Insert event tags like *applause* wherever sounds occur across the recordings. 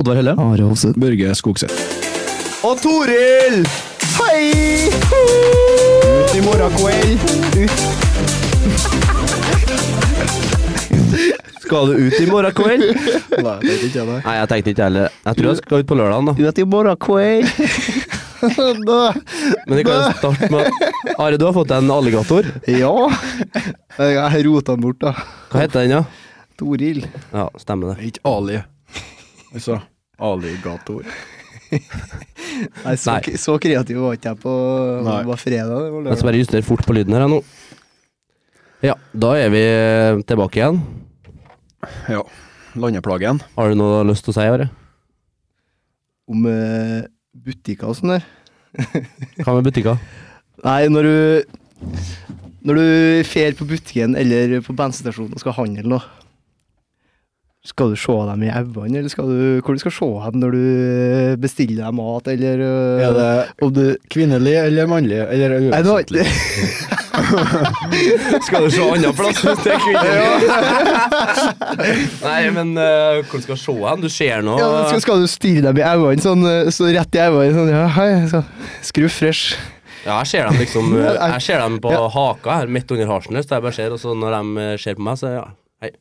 Oddvar Helle. Are Hovseth. Børge Skogseth. Og Toril! Hei! Ut i morgen kveld. Skal du ut i morgen kveld? Nei, det er ikke jeg, *laughs* Nei, jeg tenkte ikke heller. Jeg tror jeg skal ut på lørdagen, da. Ut i morgen kveld. *laughs* Men vi kan jo starte med at Are, du har fått deg en alligator. Ja. Jeg rota den bort, da. Hva heter den, da? Toril. Ja, stemmer det. Ikke Ali. Altså Aligator. Nei, så, Nei. så kreativ var ikke jeg på om Nei. Det var fredag. Det var Jeg lørdag. skal bare justere fort på lyden her jeg, nå. Ja, da er vi tilbake igjen. Ja. Landeplagen. Har du noe du har lyst til å si, Are? Om eh, butikker og sånn der. Hva med butikker? Nei, når du Når du fer på butikken eller på bensinstasjonen og skal handle noe, skal du se dem i øynene, eller skal du, hvor du skal se dem når du bestiller deg mat, eller eh, Er det om du kvinnelig eller mannlig? Eller Nei, det var ikke Skal du se annen plass hvis *laughs* det er kvinner? Nei, men uh, hvor skal du se hen? Du ser nå ja, skal, skal du stirre dem i øynene, sånn, eh, så rett i øynene, sånn Ja, hei, så, skru fresh. Ja, jeg ser dem liksom eh, Ja, jeg- Jeg ser dem på ja. haka her, midt under harsen deres. der Jeg bare ser, og så når de eh, ser på meg, så ja. Hei.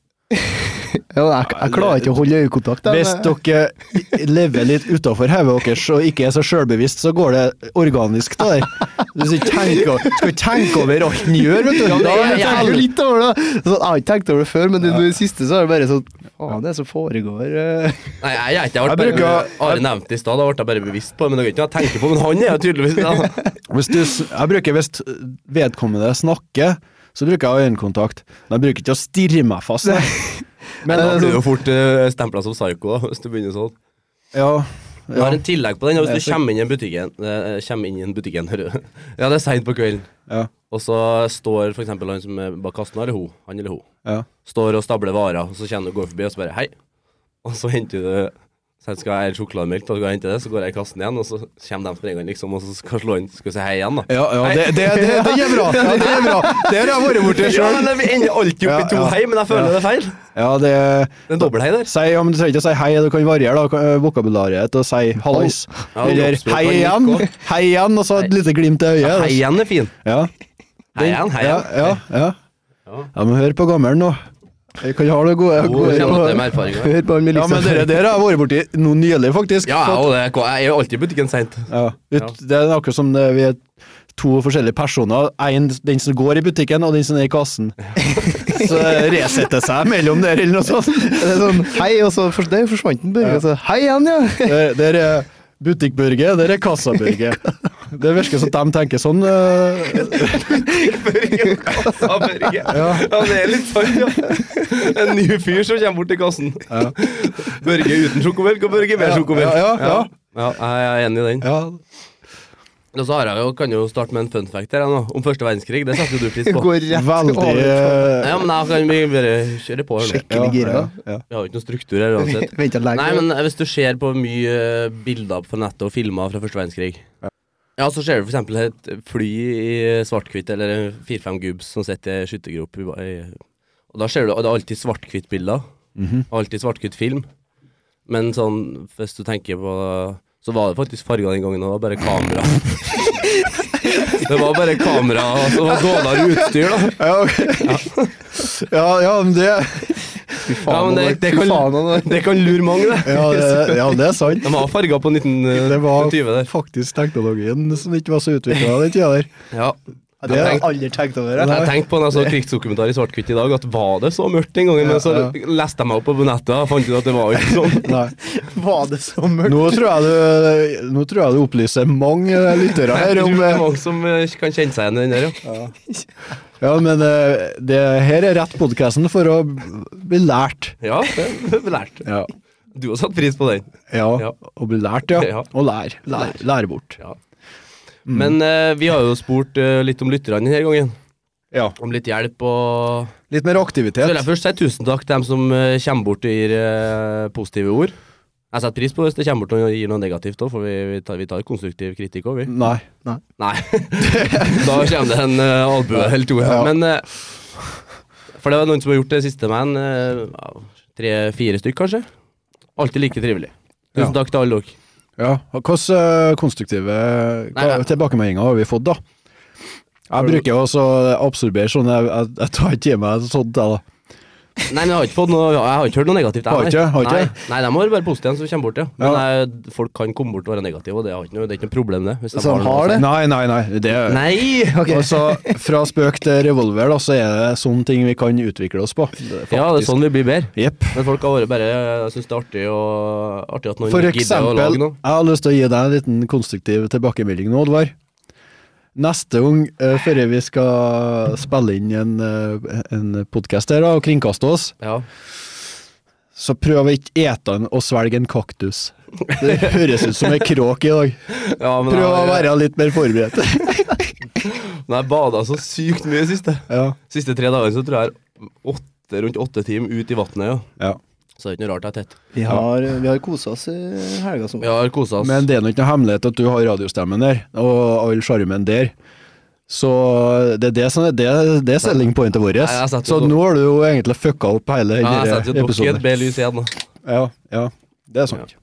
Ja, jeg, jeg klarer ikke å holde øyekontakt. jeg, Hvis men- dere lever litt utafor hodet deres og ikke er så sjølbevisst, så går det organisk til der. Du skal ikke tenke, skal ikke tenke over alt den gjør, vet du. Ja, men *laughs* Ja, jeg- jeg jeg- tenker jo litt over det. Sånn, jeg har ikke tenkt over det før, men i det siste så er det bare sånn Faen, det er som foregår eh. Nei, jeg er ikke jeg ble Jeg bare- bruker- Are nevnte det i stad, da ble jeg bare bevisst på det. Men det er jo ikke noe jeg tenker på, men han er jo tydeligvis da. Hvis du, s- jeg bruker hvis vedkommende snakker, så bruker jeg øyekontakt. Men jeg bruker ikke å stirre meg fast. jeg. Men da Eh, blir du jo fort uh, stempla som psyko da, hvis du begynner sånn. Ja, Du har en tillegg på den, og hvis Jeg du kommer inn i en butikken, eh, kommer inn i en butikken hører du. *laughs* Ja, det er seint på kvelden, ja, og så står for eksempel han som er bak kassen, eller hun, han eller hun, ja. står og stabler varer, og så kjenner du går forbi og så bare hei, og så henter du så skal jeg ha en sjokolademelk, da skal jeg hente det, så går jeg i kassen igjen, og så kommer de springende, liksom, og så skal jeg slå inn, skal jeg si hei igjen, da. Ja, ja, det, det, det, det er bra. Ja, det er bra. Det har jeg vært borti Ja, sjøl. men Vi ender alltid opp Ja, i to ja. hei, men jeg føler det er feil. Ja, det Det er en dobbelthei der. Si, ja, men du trenger ikke å si hei, du kan variere da, eh, vokabularet ditt og si hallais. Ja, Eller kroppsspråk hei kan igjen, like godt. hei igjen, og så et lite glimt i Ja, hei øyet. igjen er fin. Ja, Hei igjen, hei ja, igjen. ja. ja. Ja. Ja, men hør på gammelen nå. Jeg kan ha det gode. Hun gode kommer til med erfaringer. Hør på han med liksom. Ja, men dere der har jeg vært borti noe nylig, faktisk. Ja, og det, jeg er jo alltid i butikken *laughs* seint. Ja. Ut, det er akkurat som det, vi er to forskjellige personer. En, den som går i butikken, og den som er *laughs* i kassen. Så det resetter seg mellom dere, eller noe sånt. Det er sånn Hei, og så for, der forsvant altså, den Børge. og så, Hei igjen, ja. Det, det er butikkburger, det er kassabørge. Det virker som at de tenker sånn. eh, kassa, sånn, Børge. Ja. det er litt sant, ja. En ny fyr som kommer bort til kassen. Børge uten sjokomelk og Børge med sjokomelk. Ja, ja, ja. jeg er enig i den. ja. Og så har jeg jo, kan jo starte med en fun fact her jeg, nå, om første verdenskrig. Det setter jo du pris *laughs* på. Går rett Veldig over. eh, Ja, men jeg kan vi bare kjøre på. her nå. ja, Skikkelig gira. ja, ja. Vi har jo ikke noe struktur her uansett. Venta lenge. Nei, men eh, hvis du ser på mye eh, bilder på nettet og filmer fra første verdenskrig Ja, så ser du for eksempel et fly i svart-hvitt eller fire-fem gubbs som sitter i skyttergrop i, i- Og da ser du, og det er alltid svart-hvitt bilder. og Alltid svart-hvitt film. Men sånn, hvis du tenker på Så var det faktisk farger den gangen, og det var bare kamera. det var bare kamera og så var det dårligere utstyr, da. Ja, ok. Ja, ja, men det Ja, men det, det, Fy faen, kan, han det kan lure mange, det. ja, det, ja, det er sant. De har farger på Det var 1920 der. faktisk teknologien som ikke var så utvikla den tida der. Ja. Det har jeg aldri tenkt over. jeg. Jeg tenkte på når jeg så krigsdokumentar i svart-hvitt i dag, at var det så mørkt den gangen? Men så Ja, leste jeg meg opp på nettet og fant ut at det var jo ikke sånn. Nei. Var det så mørkt? Nå tror jeg du, nå tror jeg du opplyser mange eh, lyttere Det her er *laughs* om eh, mange som eh, kan kjenne seg igjen i den der, ja. Ja, men eh, det her er rett podkasten for å bli lært. Ja, det er lært. Ja. Du har satt pris på den. ja. Ja. Å bli lært, ja. Ja. Og lære. Lære, lære bort. Ja. Men eh, vi har jo spurt eh, litt om lytterne denne gangen. Ja. Om litt hjelp og Litt mer Så aktivitet. vil jeg først si tusen takk til dem som eh, kommer bort og gir eh, positive ord. Jeg setter pris på hvis det kommer bort og gir noe negativt òg, for vi, vi, tar, vi tar konstruktiv kritikk òg, vi. Nei. Nei. da kommer det en eh, albue eller to. Ja. Men eh, For det var eh, noen som har gjort det siste med en. Tre-fire stykk, kanskje. Alltid like trivelig. Tusen takk til alle dere. Ja, og Hvilke eh, konstruktive hva, Nei, nei. tilbakemeldinger har vi fått, da? Jeg bruker jo også å absorbere sånn Jeg, jeg, jeg tar ikke i meg sånt, jeg, da. Nei, men jeg har ikke fått noe Jeg har ikke hørt noe negativt. jeg, Har nei. ikke? Har ikke? Nei, nei, de må være positive, de som kommer bort, ja. Men Ja. eh, folk kan komme bort og være negative, og det, har ikke noe, det er ikke noe problem, det. Hvis de Så de har det? Nei, nei, nei. Det, Nei! *laughs* Ok. Altså, fra spøk til revolver, da, så er det sånne ting vi kan utvikle oss på. Det er Ja, det er faktisk- sånn vi blir bedre. Jepp. Men folk har vært bare Jeg syns det er artig, og, artig at noen For gidder å eksempel, lage noe. jeg har lyst til å gi deg en liten konstruktiv tilbakemelding nå, Oddvar. Neste gang, eh, før vi skal spille inn en, eh, en podkast her da, og kringkaste oss, Ja. så prøv å ikke ete den og svelge en kaktus. Det høres ut som en kråk i dag. ja men Prøv å jeg, være litt mer *laughs* forberedt. men jeg bada så sykt mye siste. Ja. Siste tre dagene så tror jeg jeg er åtte, rundt åtte timer ut i vannet, ja. ja. Så det er ikke noe rart jeg er tett. Vi har, vi har kosa oss i helga som Vi har kosa oss. Men det er nå ikke noe hemmelighet at du har radiostemmen der, og all sjarmen der. Så det er det som er, det, er- det er selling pointet vårt. Nei, jeg setter Så jo- nå har du jo egentlig fucka opp hele ja, jeg denne setter jo dokk i episoden. et B-lys igjen, da. Ja, ja, det er sant.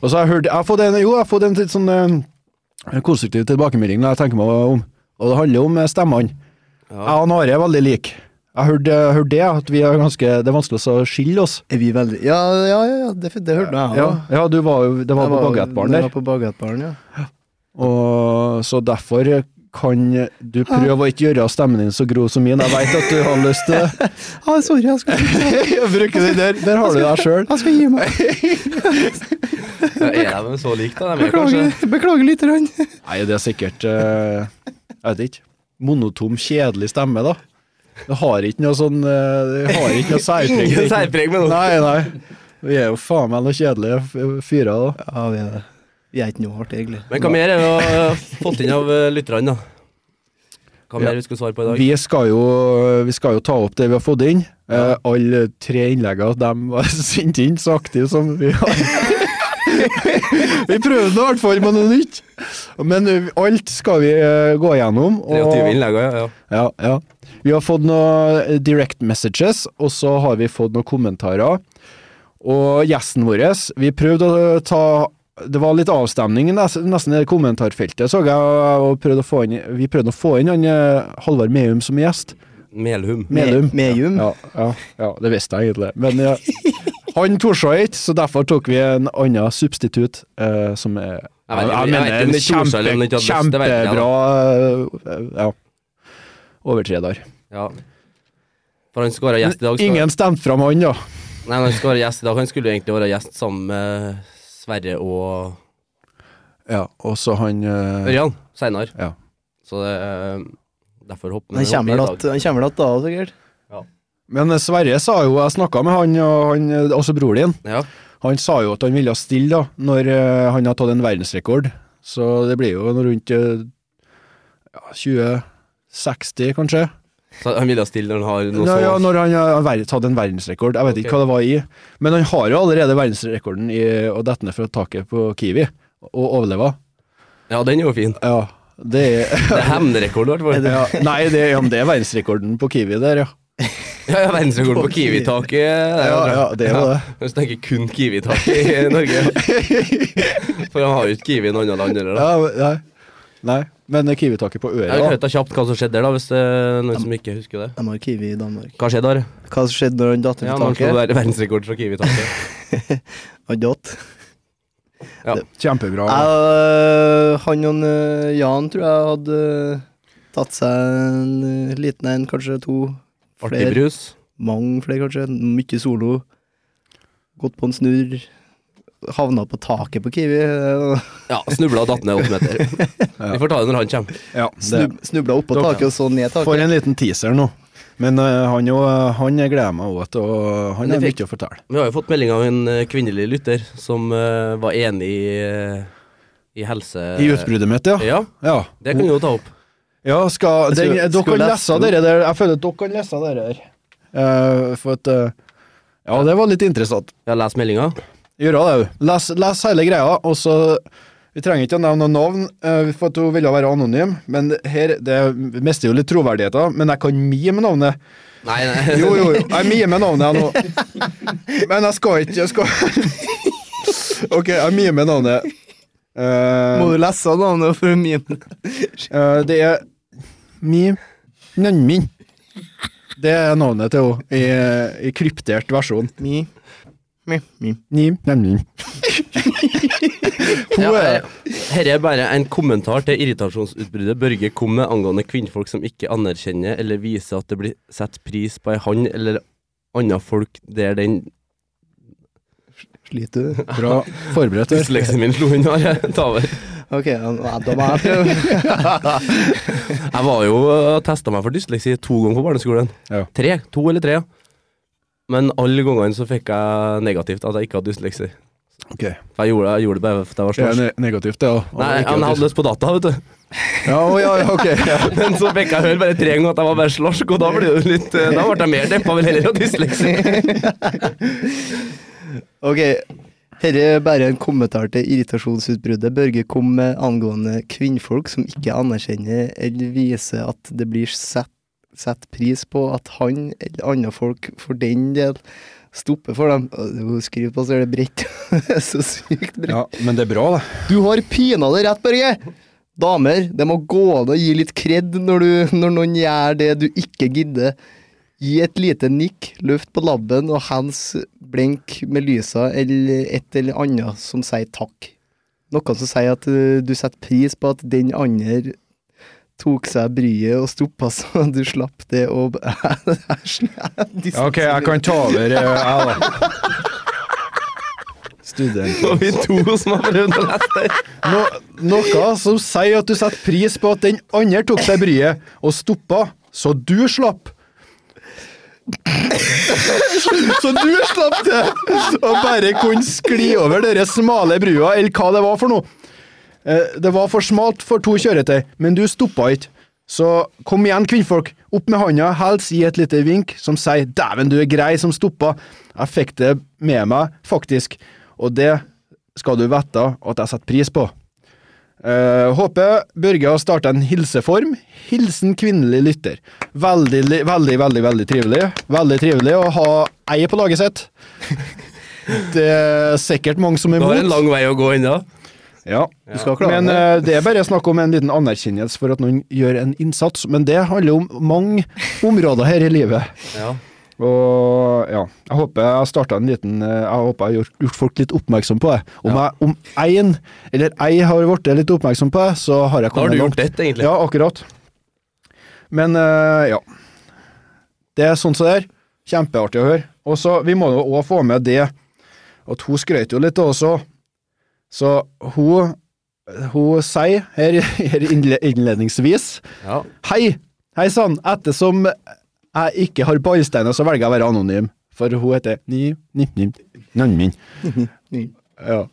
Og så har jeg hørt Jeg har fått en, jo, jeg har fått en litt sånn eh, konstruktiv tilbakemelding når jeg tenker meg om, og det handler om eh, stemmene. Ja. Jeg og Nare er veldig like. Jeg hørte hørt det, at vi er ganske, det er vanskelig å skille oss. Er vi veldig Ja, ja, ja, ja det, det hørte jeg Ja, ja du var jo Det var Jeg på Baguettbaren det der. var På baguettbaren, ja. Og så derfor kan du prøve å ikke gjøre stemmen din så grov som min. Jeg veit at du har lyst til det. Ah, sorry, jeg skal, *laughs* Jeg bruker *laughs* den der. Der har du deg sjøl. jeg skal gi meg. Ja, Er de så like, da? De er kanskje Beklager, beklager litt. Rann. Nei, det er sikkert eh, Jeg vet ikke. Monotom, kjedelig stemme, da. Det har ikke noe sånn eh, Det har ikke noe særpreg. Ingen særpreg med noe. Nei, nei. Vi er jo faen meg noen kjedelige f- fyrer, da. Ja, vi er det. Vi er ikke noe hardt, egentlig. Men hva mer er det vi har fått inn av eh, lytterne, da? Hva Ja. mer vi skulle svare på i dag? Vi skal jo, vi skal jo ta opp det vi har fått inn. Eh, alle tre innleggene dem var *laughs* sendt inn så aktive som vi har. *laughs* vi prøvde nå i hvert fall med noe nytt. Men eh, alt skal vi eh, gå igjennom. og- 23 innlegg, ja. ja. Ja, ja. Vi har fått noen direct messages, og så har vi fått noen kommentarer. Og gjesten vår Vi prøvde å ta Det var litt avstemning i nes- nesten i det kommentarfeltet, så jeg. Og prøvde å få inn, vi prøvde å få inn han eh, Halvard Meum som gjest. Melhum. Medum. Mm. Medium. Ja, ja, ja, det visste jeg egentlig. Men ja, han torde ikke, så derfor tok vi en annen substitutt eh, som er Jeg vet ikke- jeg vet ikke om det torde seg eller om det ikke hadde lyst, det vet jeg kjempebra eh, ja, overtreder. Ja. For han skal være gjest i dag. Skal... Ingen stemte fram han, da. Nei, men han skal være gjest i dag. Han skulle jo egentlig være gjest sammen med Sverre og Ja, og så han eh, Ørjan seinere. Ja. Så det er derfor hopper Han hopper kommer i vel att- han kommer vel att da, sikkert. Men eh, Sverre sa jo, jeg snakka med han, og han, eh, også bror din, dag. Ja. han sa jo at han ville stille da, når eh, han har tatt en verdensrekord. Så det blir jo noe rundt eh, ja, 2060, kanskje. Så han ville stille når han har noe Nå, så ja, når han har ver- tatt en verdensrekord. Jeg vet Ok. ikke hva det var i, men han har jo allerede verdensrekorden i å dette ned fra taket på Kiwi og overleve. Ja, den er jo *laughs* fin. Ja, det er *laughs* Det er hevnrekord, i hvert fall. ja, Nei, det, ja, men det er verdensrekorden på Kiwi der, ja. Ja, ja, Verdensrekorden på På Kiwi. Kiwi-taket. det er Ja, bra. ja, det er jo det. Hvis du tenker kun Kiwi-tak i *laughs* Norge. For han har jo ikke Kiwi i noe annet land heller. da. Ja, men- nei. nei. Men Kiwi-taket på Jeg kan jo øret, da. ta kjapt hva som skjedde der, da, hvis det er noen som ikke husker det. De har Kiwi i Danmark. Hva skjedde der? Hva som skjedde når han datt Ja, på han slo taket? ver- verdensrekord fra Kiwi-taket. Han datt. Kjempebra. Jeg, øh, Han og øh, Jan tror jeg hadde øh, tatt seg en øh, liten en, kanskje to. Artig Flere. brus. Mange flere, kanskje. Mye solo. Gått på en snurr. Havna på taket på Kiwi. øh, Ja, snubla og datt ned åtte *laughs* meter. Vi får ta det når han kommer. Ja, det. Snub, snubla opp på Dere- taket og så ned For taket. en liten teaser nå. Men eh, han, jo, han gleder meg òg til å Han Men har det fikk- mye å fortelle. Vi har jo fått melding av en eh, kvinnelig lytter som eh, var enig i, eh, i helse... I utbruddet mitt, Eh, ja. Ja, Ja, det kan du jo ta opp. ja skal, den, Skulle- Dere skulle kan lese lese dere der. Jeg føler at dere kan lese dere der. Eh, for at eh, Ja, det var litt interessant. Jeg har lest meldinga. Gjøre det òg. Les, les hele greia, og så Vi trenger ikke å nevne noen navn, eh, for at hun ville være anonym, men her Det mister jo litt troverdigheten, men jeg kan mime navnet. Nei, nei. *laughs* Jo, jo, jo. Jeg mimer navnet jeg nå. Men jeg skal *laughs* ikke jeg skal... Ok, jeg mimer navnet. Eh, Må du lese navnet for min? eh, det er Mi Nanmin. Det er navnet til henne i, i kryptert versjon. Mi. Mi. Mi. Ni *laughs* Nanmin. hun Ja, er eh, Her er bare en kommentar til irritasjonsutbruddet Børge kom med angående kvinnfolk som ikke anerkjenner eller viser at det blir satt pris på ei han eller anna folk der den Sliter du? bra forberedt. her. dysleksien min slo inn. her, jeg tar over. Ok, ja, da må jeg prøve. Jeg var jo og testa meg for dysleksi to ganger på barneskolen. Ja. Tre. To eller tre. ja. Men alle gangene så fikk jeg negativt at jeg ikke hadde dysleksi. Ok, For jeg gjorde, jeg gjorde det bare fordi jeg var Det er snorsk. ne negativt, det. Ja. Nei, men jeg hadde lyst på data, vet du. *laughs* ja, å, ja, ja, ok. Ja. Men så fikk jeg høre bare tre ganger at jeg var bare slarsk, og da ble det jo litt eh, Da ble jeg mer deppa vel heller av dysleksi. Ok, dette er bare en kommentar til irritasjonsutbruddet Børge kom med angående kvinnfolk som ikke anerkjenner eller viser at det blir sett, sett pris på at han eller andre folk for den del stopper for dem. Hun skriver på så er det bredt. *laughs* så sykt bredt. ja, men det er bra, det. Du har pinadø rett, Børge! Damer, det må gå an å gi litt kred når, du, når noen gjør det du ikke gidder. Gi et lite nikk, løft på labben og hands blink med lysa eller et eller annet som sier takk. Noen som sier at eh, du setter pris på at den andre tok seg bryet og stoppa *laughs* så du slapp det og *laughs* Ja, ok, jeg kan ta over, eh, jeg, da. Student. Og vi to som har prøvd å lese det. No, noe som sier at du setter pris på at den andre tok seg bryet og stoppa, så du slapp. Så du slapp det, og bare kunne skli over dere smale brua, eller hva det var for noe. Eh, Det var for smalt for to kjøretøy, men du stoppa ikke. Så kom igjen, kvinnfolk. Opp med handa, helst gi et lite vink som sier 'dæven, du er grei som stoppa'. Jeg fikk det med meg, faktisk, og det skal du vite at jeg setter pris på. Eh, håper Børge har starta en hilseform. Hilsen kvinnelig lytter. Veldig, li- veldig, veldig veldig trivelig. Veldig trivelig å ha ei på laget sitt. Det er sikkert mange som er Du har en imot. lang vei å gå ennå. Ja. Du skal klare Men det. eh, det er bare snakk om en liten anerkjennelse for at noen gjør en innsats. Men det handler om mange områder her i livet. Ja. Og ja, jeg håper jeg har startet en liten eh, Jeg håper jeg har gjort, gjort folk litt oppmerksom på det. Om jeg, om én eller ei har blitt litt oppmerksom på det, så har jeg Da har kommet du langt. gjort ett, egentlig. Ja, akkurat. Men eh, ja. Det er sånn som det er. Kjempeartig å høre. Og så, Vi må jo òg få med det at hun skrøt jo litt også. Så hun, hun sier her, her innle- innledningsvis Ja. Hei! Hei sann! Ettersom jeg ikke har ballsteiner, så velger jeg å være anonym. For hun heter Ni... Ni... Ni... Nanmin. Ja.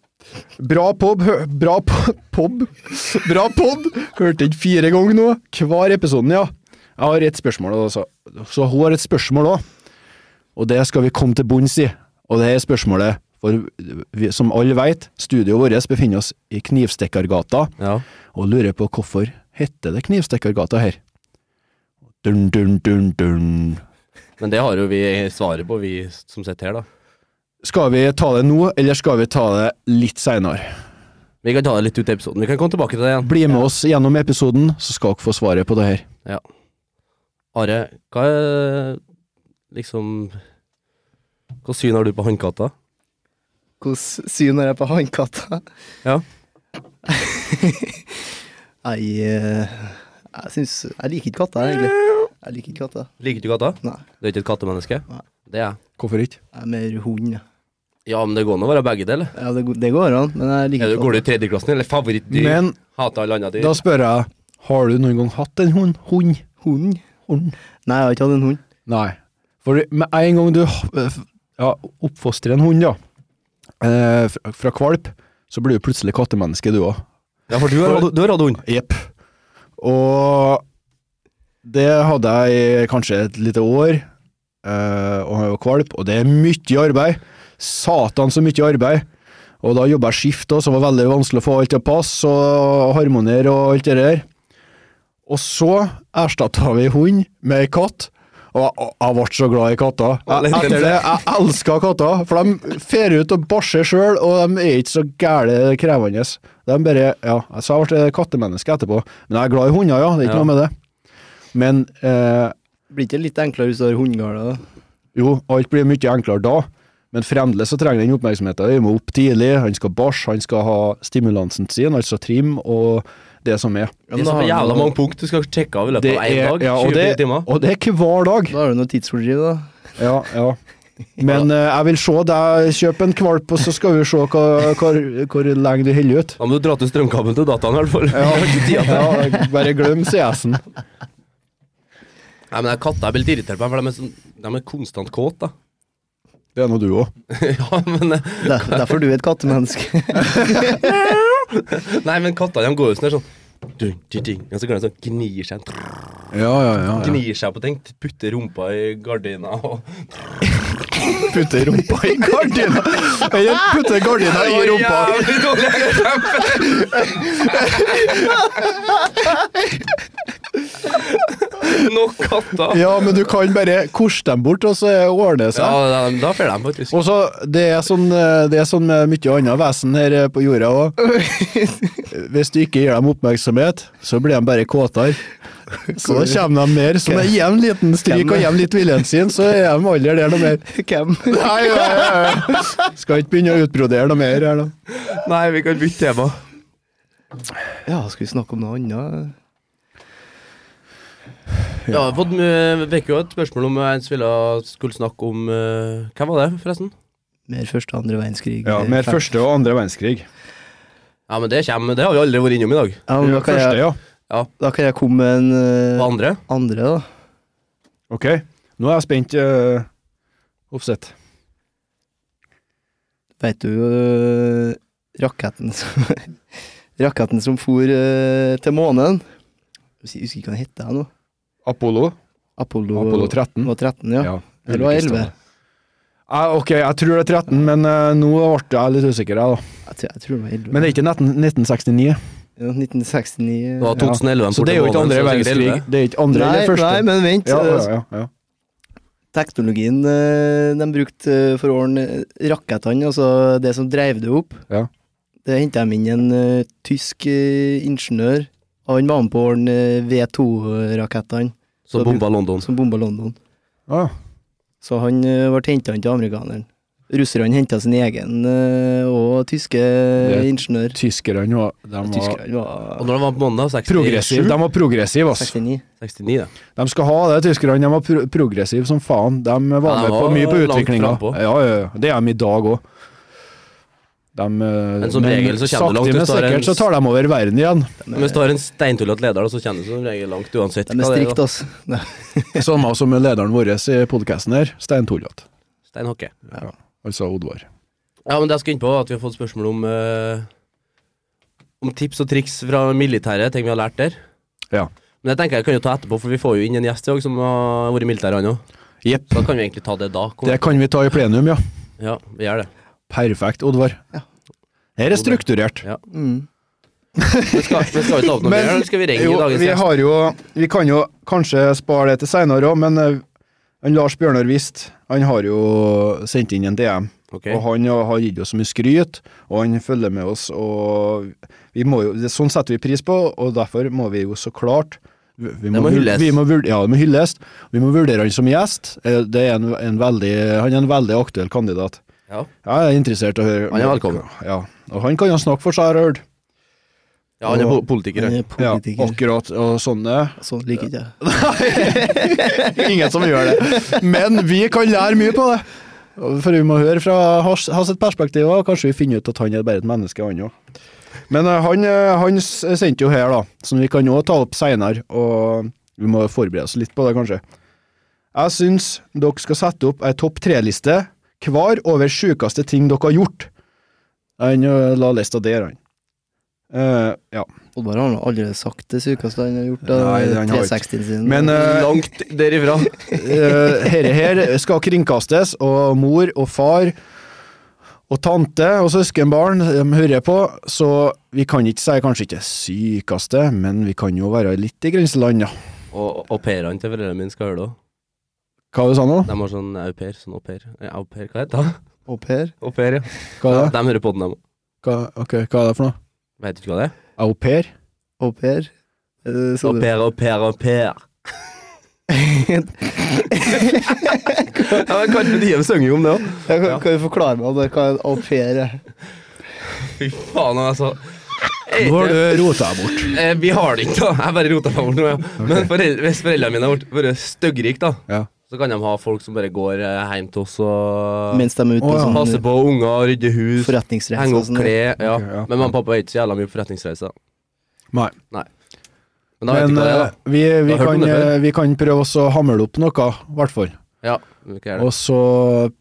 Bra pob hø- Bra po- pob Bra pod! Hørte den fire ganger nå. Hver episoden, ja. Jeg har et spørsmål, altså. Så hun har et spørsmål òg. Og det skal vi komme til bunns i. Og det er spørsmålet For vi, som alle veit, studioet vårt befinner oss i Knivstikkergata Ja. og lurer på hvorfor heter det Knivstikkergata her. Dun, dun, dun, dun. Men det har jo vi svaret på, vi som sitter her, da. Skal vi ta det nå, eller skal vi ta det litt seinere? Vi kan ta det litt ut i episoden. Vi kan komme tilbake til det igjen. Bli med oss gjennom episoden, så skal dere få svaret på det her. Ja. Are, hva er liksom Hva syn har du på hannkatta? Hvordan syn har jeg på hannkatta? Ja. Jeg, eh, jeg syns Jeg liker ikke katter, egentlig. Jeg liker ikke katter. Liker du katter? Nei. Du er ikke et kattemenneske? Nei. Det er jeg. Hvorfor ikke? Jeg er mer hund. jeg. Ja, men det går an å være begge deler. Ja, det, go- det går an, men jeg liker Er du, ikke går du i tredjeklassen, eller favorittdyr? Men Hater alle andre dyr? da spør jeg, har du noen gang hatt en hund? Hund? hund. hund? Nei, jeg har ikke hatt en hund. Nei. For med en gang du eh, ja, oppfostrer en hund, ja, eh, fra, fra kvalp, så blir du plutselig kattemenneske, du òg. Ja, for du har, hatt- du har hatt hund. Jepp. Og det hadde jeg i kanskje et lite år, eh, og jeg var kvalp, og det er mye arbeid. Satan så mye arbeid. Og da jobba jeg skift, også, så det var veldig vanskelig å få alt til å passe, og harmonere og alt det der. Og så erstatta vi hund med katt, Og jeg- jeg ble så glad i katter. Jeg, litt etter det, Eh, jeg elska katter, for de fer ut og bæsjer sjøl, og de er ikke så gæle krevende. De bare, ja, Så jeg ble kattemenneske etterpå. Men jeg er glad i hunder, ja. Det er ikke Ja. noe med det. Men eh, Blir ikke det litt enklere hvis du har hundegarder? da? jo, alt blir mye enklere da, men fremdeles så trenger den oppmerksomheten. Vi må opp tidlig, han skal bæsje, han skal ha stimulansen sin, altså trim og det som er. Det Ja, men er da så har jævla du noe- mange punkt du skal sjekke av i løpet av én dag. ja, og, 24 det, timer. og det er hver dag. Da har du noe tidsfordriv, da. Ja, ja. Men eh, jeg vil se deg kjøpe en kvalp, og så skal vi se hva, hvor, hvor lenge du holder ut. Da må du dra til strømkabelen til dataen, i hvert fall. *laughs* Jeg har ikke tid til det. Ja, bare glem CS-en. Nei, men jeg katter jeg blir litt irritert på, dem, for de er, sånn, de er konstant kåt, da. *laughs* Det er nå du òg. ja, men eh, Der, derfor du er et kattemenneske. Nei, men kattene de går jo sånn der sånn dun, dun, dun, Og så går de sånn gnir seg Ja, ja, ja. ja. Gnir seg på ting. Putter rumpa i gardina og Putte rumpa i gardina! Eller putte gardina i rumpa! Jævlig dårlig eksempel! Nok katter. Ja, men du kan bare korse dem bort, og så ordner det Ja, seg. da, da får de faktisk Og så, det er sånn eh, Det er sånn med mye annet vesen her eh, på jorda òg. Hvis du ikke gir dem oppmerksomhet, så blir de bare kåtere. Så kommer de mer. sånn Så når jeg gir dem en liten stryk og gir dem litt viljen sin, så er de aldri der noe mer. Hvem? Nei, nei, nei. Skal ikke begynne å utbrodere noe mer her, da. Nei, vi kan bytte tema. Ja, skal vi snakke om noe annet? Ja, vi har fått mye- vi fikk jo et spørsmål om en som ville skulle snakke om eh, Hvem var det, forresten? Mer første og andre verdenskrig. eller fem- og andre verdenskrig. Ja, men det kommer. Det har vi aldri vært innom i dag. Ja, men da, kan jeg, ja. da kan jeg komme med en eh, Hva andre? andre, da. Ok. Nå er jeg spent. eh, Oppsett. Veit du øh, raketten som *laughs* Raketten som for øh, til månen? Jeg husker ikke hva den het nå. Apollo. Apollo, Apollo 13. var 13 ja. Eller var det 11? Ja, Ah, ok, jeg tror det er 13, men eh, nå ble jeg litt usikker. Jeg, da. Jeg tror, jeg tror det var 11. Men det er ikke 19, 1969. Ja, 1969 Det var Ja. 2011. Så det er jo sånn ikke andre verdenskrig. Det er ikke andre nei, eller første. nei, men vent. Eh, ja, ja, ja, ja. Teknologien øh, de brukte øh, for å ordne øh, rakettene, altså det som dreiv det opp, Ja. det henta de inn en øh, tysk øh, ingeniør. Og Han var med på å ordne V2-rakettene Som bomba London. som bomba London. Ah, Så han eh, ble henta til amerikaneren. Russerne henta sin egen eh, og tyske ingeniør. tyskerne var, de var Tyskerne Og var når det var på mandag, 67 progressive. De var progressive, ass. 69. 69, det. De skal ha det, tyskerne. De var pro progressive som faen. De var Ja, de med på var mye på langt utviklinga. frampå. Ja, ja, ja. Det er de i dag òg. De, Men som regel så kommer det langt, Sakte, men hvis du har en- sikkert så tar de over verden igjen. Men hvis du har en steintullete leder, da, så kjennes du som regel langt uansett. *laughs* De er hva det strikt, da. altså. Nei, *laughs* Samme som lederen vår i podkasten her, Stein Torjat. Stein Hakke. Altså Oddvar. Ja, men det jeg skal inn på, at vi har fått spørsmål om eh, Om tips og triks fra militæret, ting vi har lært der. Ja. Men det tenker jeg kan jo ta etterpå, for vi får jo inn en gjest i dag som har vært i militæret, han òg. Jepp. Da kan vi egentlig ta det da. Kom. Det kan vi ta i plenum, ja. Ja, vi gjør det. Perfekt, Oddvar. Her er strukturert. Ja. Mm. Men skal, men skal vi ta opp noe mer, eller skal vi ringe jo, dagens vi gjest? har jo Vi kan jo kanskje spare det til seinere òg, men eh, han Lars Bjørnar Wist han har jo sendt inn en DM, Ok. og han jo har gitt oss så mye skryt, og han følger med oss, og vi må jo det- Sånn setter vi pris på, og derfor må vi jo så klart vi vi må vur- hylles. Vi må, vur- ja, det må hylles. Vi må vurdere han som gjest. Eh, Det er en, en veldig, han er en veldig aktuell kandidat. Ja. Jeg er interessert i å høre Han er velkommen. Ja, og han kan jo snakke for seg, har jeg hørt. ja, han er po- politiker, Han han. er Ja, politiker. akkurat, og sånne. Sånn liker ikke jeg. *laughs* Ingen som gjør det. Men vi kan lære mye på det. For vi må høre fra hans hans et perspektiv, og kanskje vi finner ut at han er bare et menneske, han òg. Men eh, han, eh, han s- sendte jo her, da, som vi kan òg ta opp seinere, og vi må forberede oss litt på det, kanskje. Jeg syns dere skal sette opp ei topp tre-liste hver over sjukeste ting dere har gjort. Han eh, la lista der, han. Eh, ja. Oddvar har nå allerede sagt det sykeste han har gjort. Nei, Da, han har ikke. 360-en sin. Men eh, Langt derifra. Eh, Herre her skal kringkastes, og mor og far og tante og søskenbarn de hører på, så vi kan ikke si kanskje ikke det sykeste, men vi kan jo være litt i grenseland, ja. Og au pairene til foreldrene mine skal høre det òg. Hva var det du sa nå? De har sånn au pair, sånn au pair. Eh, Au pair, hva heter det? Au pair. Au pair, ja. Hva er det? De hører på den, dem. Hva, ok, hva er det for noe? Vet du ikke hva det er? Au pair? Au pair. Er det Au sånn det- pair, au pair, au pair. ja, men kanskje de synger jo om det òg. Ja, kan, kan du forklare meg det, hva en au pair eh? er? Fy faen, altså. Nå har du rota deg bort. Eh, vi har det ikke, da. Jeg bare rota meg bort nå, ja. Men forel- hvis foreldrene mine har vært- vært styggrike, da, Ja. så kan de ha folk som bare går eh, hjem til oss og Mens de er ute på Å, ja. sånn passer på unger, rydder hus, forretningsreise henger og opp sånn. klær. Ja. Ok, ja. Men mamma og pappa er ikke så jævla mye på forretningsreise. da. Nei. Men da vet Men ikke hva det er, eh, vi, vi, Jeg har hørt om kan, det før. eh, vi kan prøve også å hamle opp noe, i hvert fall. da. Ja, vi kan gjøre det. Og så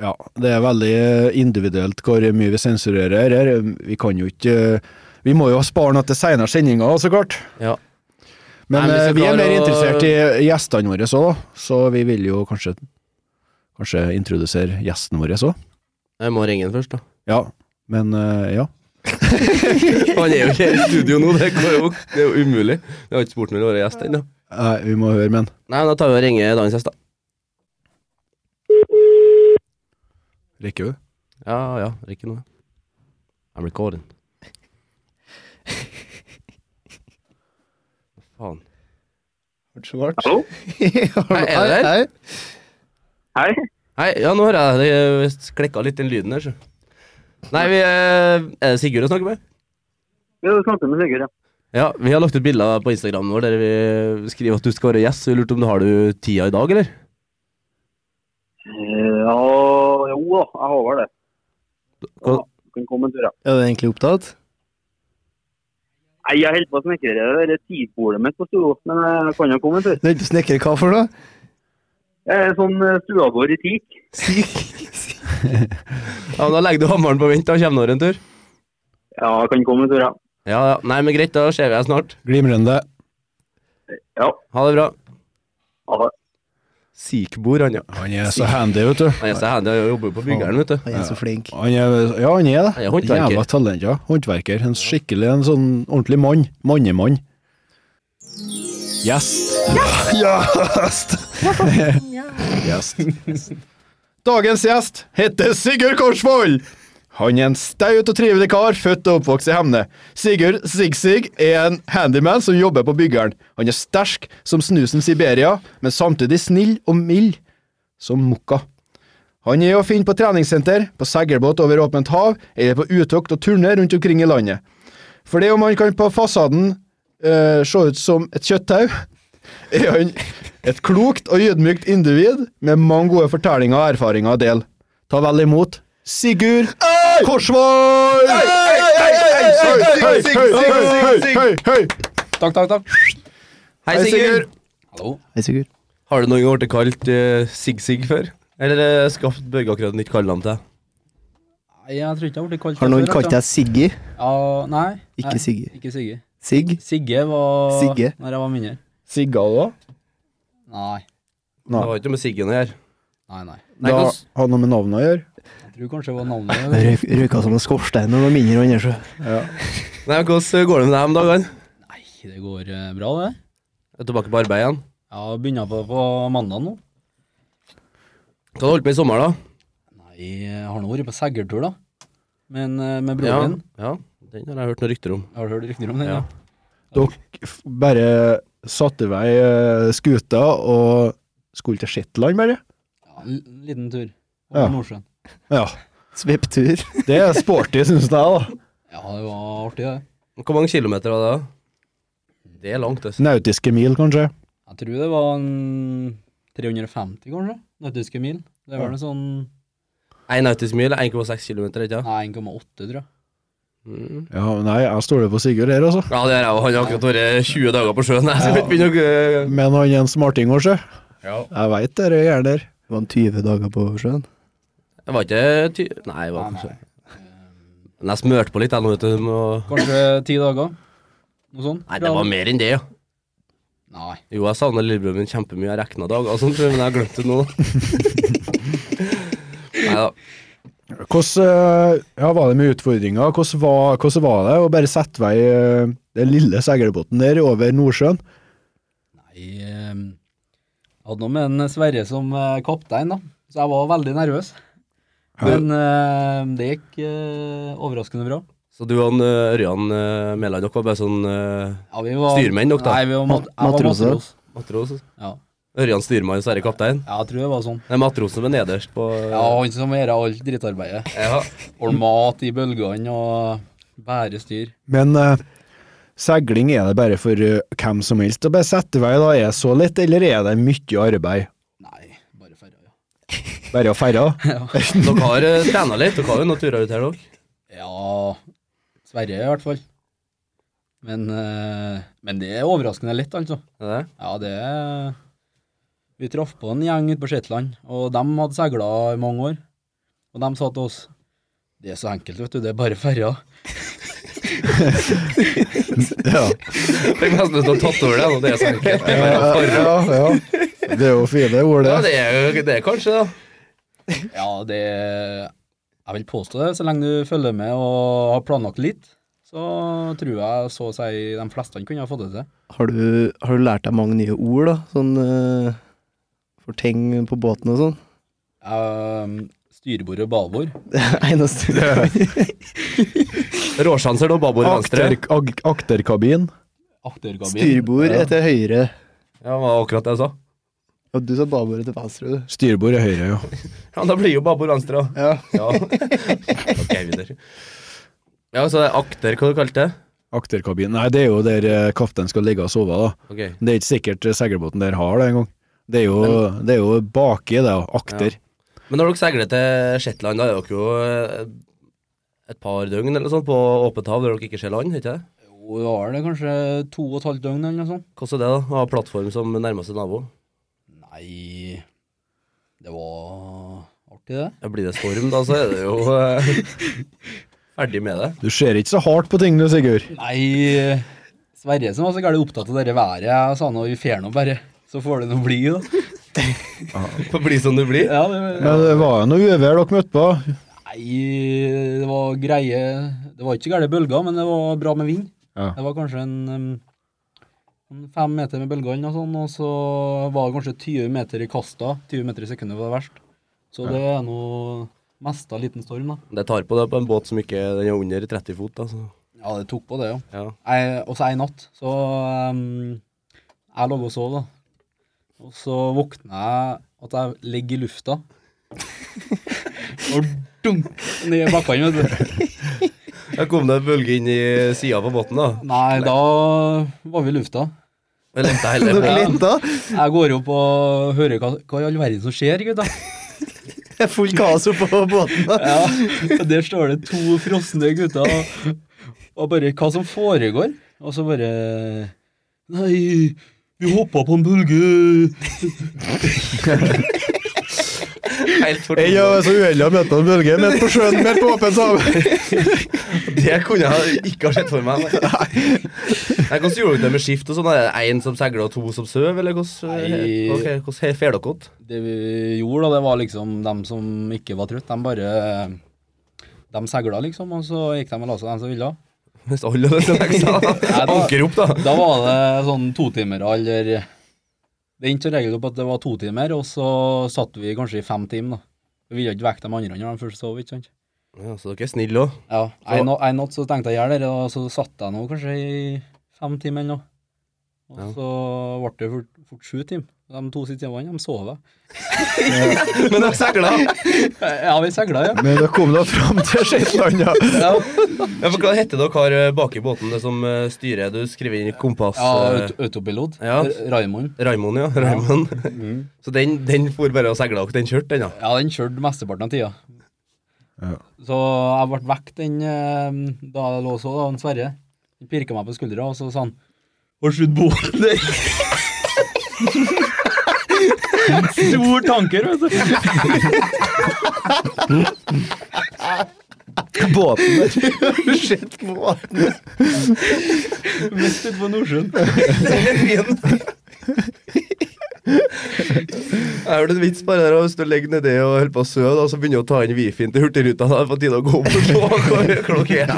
Ja, det er veldig individuelt hvor mye vi sensurerer her. Vi kan jo ikke Vi må jo spare noe til seinere sendinger, så klart. Ja. Men Nei, men vi eh, skal vi er klare mer å- interessert i gjestene våre òg, så vi vil jo kanskje Kanskje introdusere gjesten vår òg. Jeg må ringe den først, da. Ja. Men eh, ja. Han er jo ikke i studio nå, det, går jo, det er jo umulig. Vi har ikke spurt når vi har gjest ennå. Nei, Eh, vi må høre med han. Nei, men da tar vi og ringer dagens gjest, da. Rekker du? Ja, ja, rekker nå. I'm recording. Faen. Hallo? Hei, er det der? *laughs* Hei. Hei. Nei, ja, nå hører jeg det eh, klekka litt den lyden der, så. Nei, vi eh, Er det Sigurd å snakke med? Ja, du snakker med Sigurd, ja. Ja, vi har lagt ut bilder på Instagramen vår der vi skriver at du skal være gjest, så vi lurte om du har du tida i dag, eller? Eh, Ja, jo da, jeg har vel det. Ja, Hva- du kan komme en tur, ja. Er du egentlig opptatt? Nei, jeg holder på å snekre det der tidsbordet mitt på stua, men jeg kan jo komme en tur. Du er ikke på snekker, hva for noe? Jeg er sånn eh, stuegård i teak. Ja, men Da legger du hammeren på vent, da kommer det en tur. Ja, jeg kan komme en tur, ja. Ja, ja. Nei, men greit, da ser vi deg snart. Glimrende. Ja, Ha det bra. ha det. Sikbor, han, ja. Han er så handy, vet du. Han er så handy, han jobber jo på byggeren, vet du. Han er så flink. Han er, ja, han er det. Han er håndverker. Jævla talent, ja. Håndverker. En skikkelig en sånn ordentlig mann. Mannemann. Gjest. Gjest! Gjest. Dagens gjest heter Sigurd Korsvoll. Han er en staut og trivelig kar, født og oppvokst i Hemne. Sigurd Sig-Sig er en handyman som jobber på byggeren. Han er sterk som snusen Siberia, men samtidig snill og mild som mokka. Han er å finne på treningssenter, på seilbåt over åpent hav, eller på utokt og turner rundt omkring i landet. For det om han kan på fasaden eh, se ut som et kjøtttau, *laughs* er han et klokt og ydmykt individ med mange gode fortellinger og erfaringer å dele. Ta vel imot Sigurd Korsvoll! Takk, takk, takk. Hei, Hei, Sigurd. Sigurd! Hei, Sigurd. Har du noen gang blitt kalt eh, Sig-Sig før? Eller uh, skapt Børge akkurat nytt kallenavn til deg? Nei, Jeg tror ikke jeg ble kalt Har noen det før, kalt altså. deg Siggy? Ja, nei. Ikke nei, Sigge. Ikke Sigge. Sigg? Sigge var Sigge? Når jeg var mindre. Sigga da? Nei. Ja. Det var ikke noe med Siggen å gjøre. Nei, nei. Nei, Da hvordan- har noe med navnet å gjøre. Jeg tror kanskje det var *laughs* navnet. Røy- Røyka som en skorstein når du var mindre, han der, så. Nei, men Hvordan går det med deg om dagene? Nei, det går eh, bra, det. Er du tilbake på arbeid igjen? Jeg begynner på det på mandag nå. Hva har du holdt med i sommer, da? Nei, jeg har nå vært på seggertur, da. Men eh, Ja, med broren min. ja, den har jeg hørt noen rykter om. Har du hørt rykter om den? Ja. Ja. Dere f- bare satte i vei eh, skuta og skulle til Shetland, bare? ja en liten tur. Ja. Over Nordsjøen. Ja. Sveptur. Det er sporty, syns jeg, da. Ja, det var artig, det. Hvor mange kilometer var det? da? Det er langt, altså. Nautiske mil, kanskje. Jeg tror det var en 350, kanskje. Nautiske mil. Det Ja. var vel en sånn 1 nautisk mil er 1,6 kilometer, ikke sant? Nei, 1,8, tror jeg. Mm. Ja, nei, jeg stoler på Sigurd her, altså. Ja, det er jeg òg. Han har akkurat vært 20 dager på sjøen. Jeg skal ikke begynne å øh, Men han er en smarting òg, sjø. Jeg veit det er gjerne der. Det var en 20 dager på sjøen. Jeg var ikke ty... Nei, jeg var Nei, kanskje Men jeg smørte på litt, jeg nå, vet du. og- Kanskje ti dager? Noe sånt? Nei, det var mer enn det, ja. Nei. Jo, jeg savner lillebroren min kjempemye. Jeg regna dager og sånt, men jeg har glemt det nå, da. Nei da. Hvordan eh, ja, var det med utfordringer? Hvordan var, hvordan var det å bare sette vei eh, den lille seilbåten der over Nordsjøen? Nei, ehm, hadde noe med en Sverre som eh, kaptein, da. Så jeg var veldig nervøs. Men eh, det gikk eh, overraskende bra. Så du og han, eh, Ørjan eh, Mæland, dere var bare sånn eh, Ja, vi var, Styrmenn dere, da? Nei, vi var mat jeg var Matroser. matros. matros? Ja. Ørjan styrmann, Sverre kaptein? ja, jeg tror det var sånn. Nei, matrosen var nederst på Ja, han som gjør alt drittarbeidet. Ja. Ordner mat i bølgene og bærer styr. Men eh, segling er det bare for eh, hvem som helst å bare sette i vei, da? Er det så lett, eller er det mye arbeid? Nei, bare ferja. Ja. Bare å ferde? Dere har uh, trena litt? Dere har jo noen turer ut her, dere? Ja Sverige, i hvert fall. Men, eh, men det er overraskende lett, altså. Er det det? Ja, det er- Vi traff på en gjeng ute på Shetland, og de hadde seila i mange år. Og de sa til oss Det er så enkelt, vet du. Det er bare ferja. Ja. Tenk nesten ut som tatt over det, nå, det er så enkelt. Det er bare å farre. *laughs* Ja, ja. Det er jo fine ord, Ja, det. det er jo det er kanskje, da. Ja, det er- Jeg vil påstå det. Så lenge du følger med og har planlagt litt, så tror jeg så å si de fleste kunne ha fått det til. Har du, har du lært deg mange nye ord, da? Sånn eh, for ting på båten og sånn? *laughs* Eh, Styrbord og babord. Det er eneste Råsjanser da, babord venstre. Akter, ag, akterkabin. Aktergabin. Styrbord er til høyre. Ja, det var akkurat det jeg sa. Og du sa babordet til venstre, du. Styrbord er høyre, jo. Ja, da blir jo babord venstre, da. Ja. Ja. *laughs* Ok, videre. Ja, så det er akter, hva du kalte det? Akterkabin. Nei, det er jo der eh, kapteinen skal ligge og sove, da. Ok. Det er ikke sikkert eh, seilbåten der har det engang. Det er jo, det er jo baki, det, og akter. Men når dere seiler til Shetland, da er dere jo eh, et par døgn eller sånn på åpent hav der dere ikke ser land, ikke det? Jo, det var det kanskje to og et halvt døgn eller noe sånt. Hvordan er det, da? Å ha plattform som nærmeste nabo? Nei, det var artig det. Ja, blir det storm, da, så er det jo eh, *laughs* ferdig med det. Du ser ikke så hardt på ting, du, Sigurd. Nei, Sverre som var så gærent opptatt av dette været, jeg sa nå vi fer nå bare, så får det nå bli da. Får bli som du blir. Ja, det, Men det var jo noe uvær dere møtte på. nei, det var greie, det var ikke gærent bølger, men det var bra med vind. Ja. Det var kanskje en, em, en fem meter med bølgene og sånn, og så var det kanskje 20 meter i kasta, 20 meter i sekundet var det verst. Så det er noe mest av liten storm da. Det tar på deg på en båt som ikke den er under 30 fot, da. Så. Ja, det tok på det jo. Ja. Jeg, også en natt, så ehm, jeg lå og sov, da. Og så våkna jeg at jeg ligger i lufta. og dunk ned i bakkene, vet du. Jeg kom det en bølge inn i sida på båten, da. Nei, da var vi i lufta. Jeg lette heller på *laughs* Dere det. lita? Jeg går opp og hører hva, hva i all verden som skjer, gutta. Det er full kaos oppå båten. da. Ja, og *laughs* der står det to frosne gutter og, og bare Hva som foregår? Og så bare Nei, vi hoppa på en bølge. Helt fort. Jeg var så uheldig å møte en bølge midt på sjøen, midt på åpent hav. *laughs* Det kunne jeg ikke ha sett for meg. Nei. Nei, hvordan gjorde dere det med skift og sånn? Er det én som seiler og to som sover, eller hvordan eh, Nei. Ok, hvordan he- fer dere opp? Det vi gjorde, da, det var liksom dem som ikke var trøtt, de bare De segla, liksom, og så gikk de og la seg, de som ville. Hvis alle disse *laughs* leksa Nei, da- anker opp, da. Da var det sånn totimere, eller Det endte som regel opp at det var to timer, og så satt vi kanskje i fem timer, da. Vi ville ikke vekke de andre når de først sov, ikke sant. Ja, så dere er snille òg. Ja, En na- en natt så tenkte jeg å gjøre det, og så satt jeg nå kanskje i fem timer eller noe. Og Ja. så ble det fort, fort sju timer. De to siste timene, de sov. jeg. *laughs* Men dere seiler. Ja, vi segla, ja. Men da kom da fram til Shetland, ja. ja. Ja, for hva heter dere har eh, bak i båten, det som eh, styrer? Du skriver inn kompass Ja, eh, aut autopilot. ja. R- Raymond. Raimond, ja. Mm. Raimond. Så den, den for bare og seila, og den kjørte, den, ja. Ja, den kjørte mesteparten av tida. Ja. Så jeg ble vekk den eh, da jeg lå og sov, da, han Sverre. Han pirka meg på skuldra, og så sa han Har du slutt båten der? *laughs* Stor tanker, vet du. Båten der. Sett båten. Mest ute på Nordsjøen. Jeg hørte en vits bare der, og hvis du legger nedi og holder på å sove, da, så begynner du å ta inn wifien til Hurtigruta. Da er det på tide å gå opp og se hva klokka er.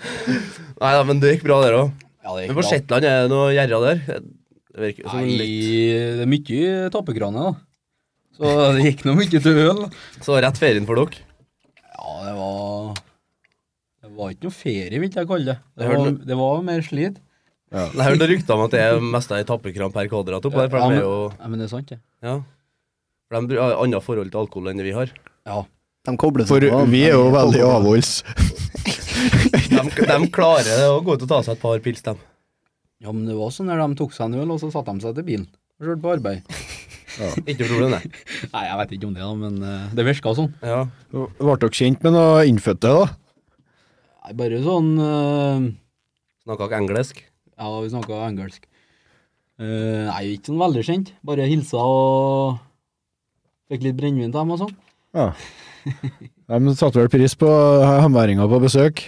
*laughs* Nei da, men det gikk bra, der òg. Ja, det Men gikk på bra. Shetland er det noe gjerder der? Det virker som Nei, litt det er mye tappekrane, da. Så det gikk nå mye til øl. Så rett ferien for dere. Ja, det var Det var ikke noe ferie, vil jeg kalle det. Det Jeg hørte var, det var mer slit. Jeg hørte rykter om at det er mest ei tappekran per kvadrat oppå der, for Ja, de men- er jo Ja, men det er sant, det. Ja. For de har annet forhold til alkohol enn det vi har. Ja. De kobler seg For på. vi er jo veldig avholds. De, de klarer det å gå ut og ta seg et par pils, dem. ja, men det var sånn når de tok seg en øl, og så satte de seg til bilen. Og kjørte på arbeid. Ikke noe problem, det. *laughs* Nei, jeg vet ikke om det, da, men eh, det virka sånn. Ja. Ble dere kjent med noen innfødte, da? Nei, bare sånn eh, Snakka ikke engelsk. Ja, vi snakka engelsk. Eh, nei, ikke sånn veldig kjent. Bare hilsa og fikk litt brennevin til dem og sånn. Ja. De satte vel pris på hemværinga på besøk.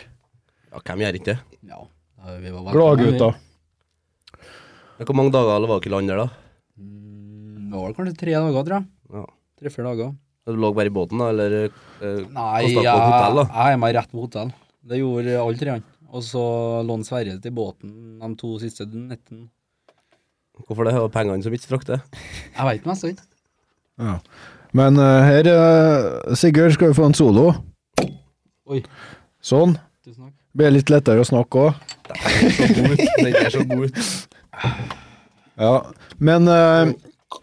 Ja, hvem gjør ikke det? Ja, eh, vi var veldig Gladgutta. Men Hvor mange dager var dere i land der, da? Mm, Det var vel kanskje tre dager, tror jeg. Ja. Tre-fire dager. Du lå bare i båten, da, eller eh, Nei, Kostet jeg, på hotell, da? jeg er meg rett på hotell. Det gjorde alle treene. Og så lånte Sverre til båten de to siste nettene. Hvorfor det? Det var pengene som ikke strakk det? Jeg veit mest ikke. Ja. Men eh, her, eh, Sigurd, skal jo få en solo. Oi. Sånn. Tusen takk. Blir litt lettere å snakke òg. Den er så god ut. Ja. Men eh,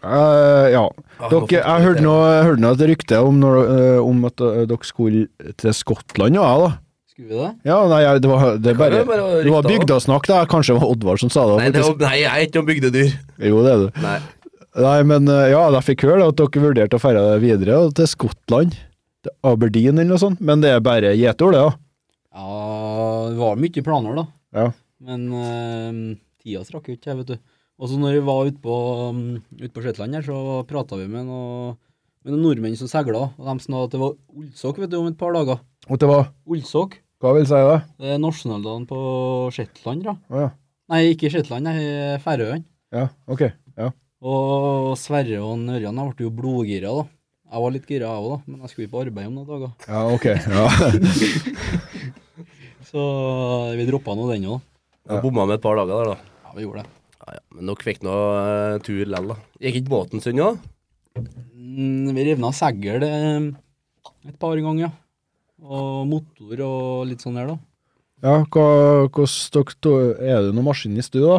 eh, ja. Dere, jeg hørte nå jeg hørte nå et rykte om, når, eh, om at eh, dere skulle til Skottland, ja, da. Skulle vi det? Ja, nei, jeg- det var, det er Kan bare, jo bare det var rykter, da. bygdasnakk, da. Kanskje det var Oddvar som sa det. Nei, det faktisk. var, nei, jeg er ikke noe bygdedyr. Jo, det er du. Nei. Nei, men eh, ja, jeg fikk høre da, at dere vurderte å ferde videre og til Skottland. Til Aberdeen eller noe sånt, men det er bare gjetord, det, da. Ja, det var mye planer, da. Ja. Men eh, tida strakk jo ikke, jeg, vet du. Og så når vi var ute på, mm, ute på Shetland her, så prata vi med noen, med noen nordmenn som segla, og de sa at det var Olsok vet du, om et par dager. Og det var Olsok. Hva vil jeg si da? Det er nasjonaldagen på Shetland, da. Å ja. Nei, ikke Shetland, nei, Færøyene. Ja, ok. Ja. Og Sverre og Ørjan jeg ble jo blodgira, da. Jeg var litt gira, jeg òg, da, men jeg skulle jo på arbeid om noen dager. Ja, ok. Ja. Så eh, vi droppa nå den òg. Jeg bomma med et par dager der, da. Ja, vi gjorde det. Ja, ja. Men dere fikk nå eh, tur lell, da. Gikk ikke båten sin òg? Mm, Vi revna segl eh, et par ganger, ja. Og motor og litt sånn der, da. *laughs* ja hva, hvordan dere to, Er det noen maskinist, du, da?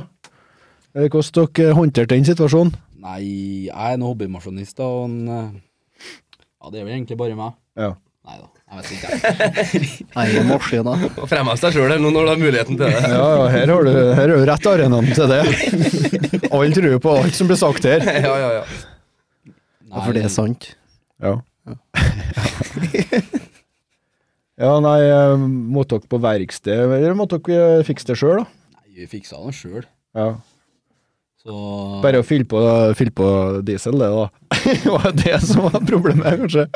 Eller Hvordan dere håndterte den situasjonen? Nei, jeg er nå hobbymasjonist, da, og en, eh, Ja, det er vel egentlig bare meg. Ja. Nei da, jeg vet ikke. jeg. Nei, det er maskiner. Og fremma seg sjøl nå når du har muligheten til det. Ja, ja, her har du, her er jo rett arenaen til det. *laughs* Alle tror jo på alt som blir sagt her. *laughs* Ja, ja, ja. Nei, For det er sant. Ja. *laughs* ja, nei, eh, måtte dere på verksted, eller måtte dere eh, fikse det sjøl, da? Nei, vi fiksa det sjøl, Ja. så Bare å fylle på, fylle på diesel, det, da. *laughs* Det var det som var problemet, kanskje.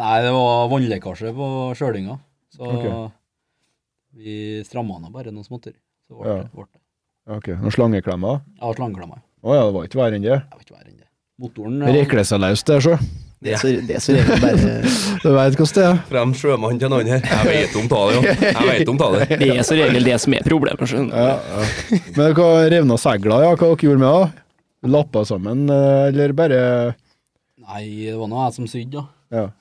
Nei, det var vannlekkasje på kjølinga. Så Ok. vi stramma nå bare noen småtter. Så ble Ja. det, ble det. Ok, Noen slangeklemmer? Jeg har slangeklemmer. Å ja, det var ikke verre enn det. Jeg vet ikke verre enn det. Motoren ja. Rekle seg løs, det, sjø. Det er så, det er så egentlig bare Du veit hvordan det er. Frem sjømann til en annen her. Jeg veit om ta det, *laughs* jo. Jeg vet om ta det. Det er som regel det som er problemet, skjønner du. Men hva revna segla, ja, hva dere gjorde med det? da? Lappa sammen, eh, eller bare Nei, det var nå jeg som sydde, da. Ja.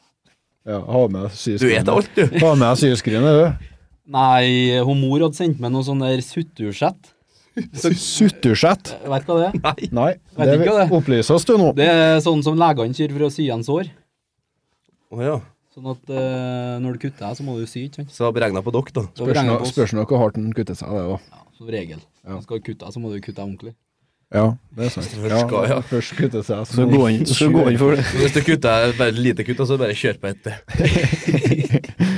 ja ha Du med vet syskrinet. alt, du. Ha med syskrinet, du. Nei, hun mor hadde sendt meg noe sånn der suttursett. Suttersett? Jeg Vet hva det er? Nei. Nei, Vet det ikke hva det er. opplyses du nå. Det er sånn som legene sier for å sy igjen sår. Å ja. Sånn at eh, når du kutter deg, så må du sy, ikke sant? Så jeg beregna på dere, da. Så Spørs vrenger nå- på oss. Spørs nå hvor hardt den kutter seg, det òg. Ja, som regel. Når du skal kutte deg, så må du kutte deg ordentlig. Ja, det er sant. Først skal, ja. først kutter seg. Så går han så går han *laughs* for det. Hvis du kutter bare et lite kutt, da, så bare kjør på *laughs* et til.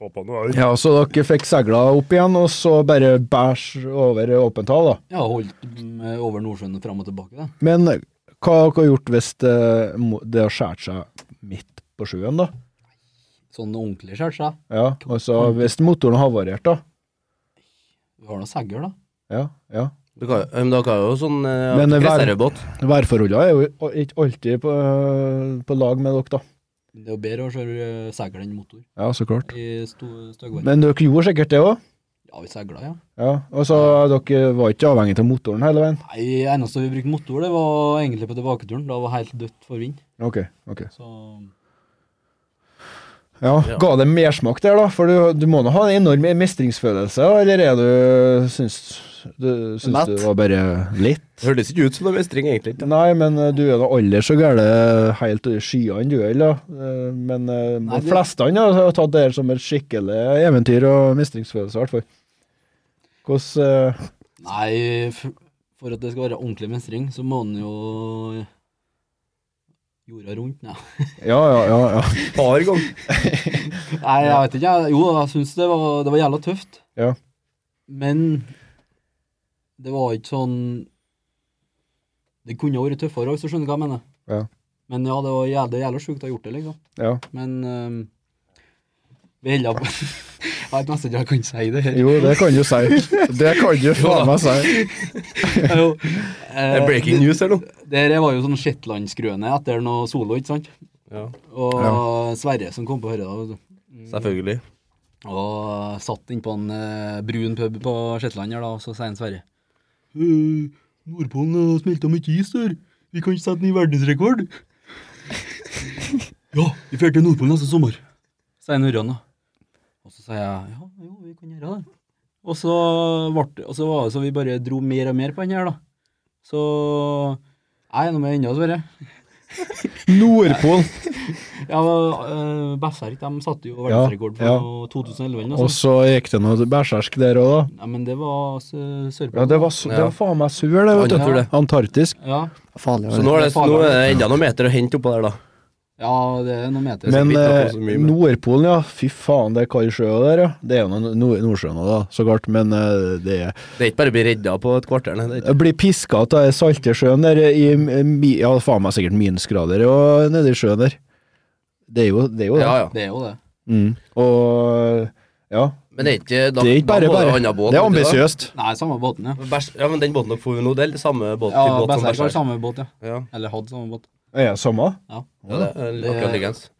Få på noe annet. Ja, så dere fikk segla opp igjen, og så bare bæsj over åpent hav, da. Jeg har holdt mm, over Nordsjøen fram og tilbake, da. Men eh, hva dere har gjort hvis det, må- det har skåret seg midt på sjøen, da? Sånn ordentlig skjært seg. Ja, altså hvis motoren har havarert, da. Vi har nå segl, da. Ja, ja. Du kan, jo- men dere har jo sånn eh, Men, eh, vær- reservebåt. Værforholdene er jo ikke alltid på, eh, på lag med dere, da. Det er jo bedre å kjøre eh, segl enn motor Ja, så klart. i sto- støgvann. Men dere gjorde sikkert det òg? Ja, vi segla, ja. Ja, og så dere var ikke avhengig av motoren hele veien? Nei, eneste vi brukte motor, det var egentlig på tilbaketuren. Da var helt dødt for vind. Ok, ok. Så Ja, Ja. Ga det mersmak der, da? For du, du må nå ha en enorm mestringsfølelse, eller er du Syns du, syns Matt? du var bare litt? Hørtes ikke ut som noe mestring, egentlig. Nei, men eh, du er da aldri så gæren helt i skyene, du heller. Eh, Men eh, Nei, de du- fleste andre har tatt det her som et skikkelig eventyr og mestringsfølelse, i hvert fall. Hvordan eh, Nei, f- for at det skal være ordentlig mestring, så må den jo jorda rundt, nei. eh, Ja, ja, ja. ja. Et par ganger. *laughs* Nei, jeg vet ikke. jeg- Jo, jeg syns det var, det var jævla tøft. Ja. Men det var ikke sånn Det kunne ha vært tøffere òg, hvis du skjønner hva jeg mener. Ja. Men ja, det var jævla, det er jævla sjukt å ha gjort det, liksom. ja. Men ehm, vi holder på *laughs* Jeg vet nesten ikke om jeg kan si det her. Jo, det kan du si. Det kan du faen meg si. *laughs* Jo, Det eh, er breaking news her nå. Det her var jo sånn Shetlandsgrøne etter noe solo, ikke sant? Ja. Og Sverre som kom på høyre da, vet du. Selvfølgelig. og satt inn på en eh, brun pub på Shetland her da, og så sier han Sverre. Eh, Nordpolen har smelta mye is der. Vi kan ikke sette ny verdensrekord. *laughs* ja, vi drar til Nordpolen neste sommer, sier Ørjan da. Og så sier jeg ja, jo, vi kan gjøre det. Og så, ble, det- og så var det så vi bare dro mer og mer på den her da. Så jeg er nå med ennå, Sverre. Nordpol. Ja, uh, Berserk de satte jo verdensrekord på Ja, ja. noe 2011 eller noe Og sånt. så gikk det noe bærsersk der òg, da. Ja, men det var sø- sørpå. Ja, det var, s- det var faen meg sur, det. Ja, vet jeg tror du. det. Antarktisk. Ja. Farlig. Så nå er det, nå er det enda noen meter å hente oppå der, da. ja, det er noen meter. Men ikke eh, noe så mye, men- Nordpolen, ja. Fy faen, det er kald sjø der, ja. Det er jo noe nord Nordsjøen også, da, så klart. Men eh, det er Det er ikke bare å bli redda på et kvarter, nei. Det er Jeg blir piska av den salte sjøen der eh, i mi- Ja, faen meg sikkert minusgrader og nedi sjøen der. Det er jo det. Er jo, ikke. det. Ja, ja. Det er jo det. Mm. Og ja. Men det er ikke da, Det er ikke da bare må det bare. annen båt, Det er vet du da. ambisiøst. Nei, samme båten, ja. Bæsj- Ja, men den båten dere får jo nå, det er samme båt, Ja, type båt som Berserk har Bæsj. samme båt, ja. Ja. Eller hadde samme båt. Er det samme? ja, det er akkurat likens.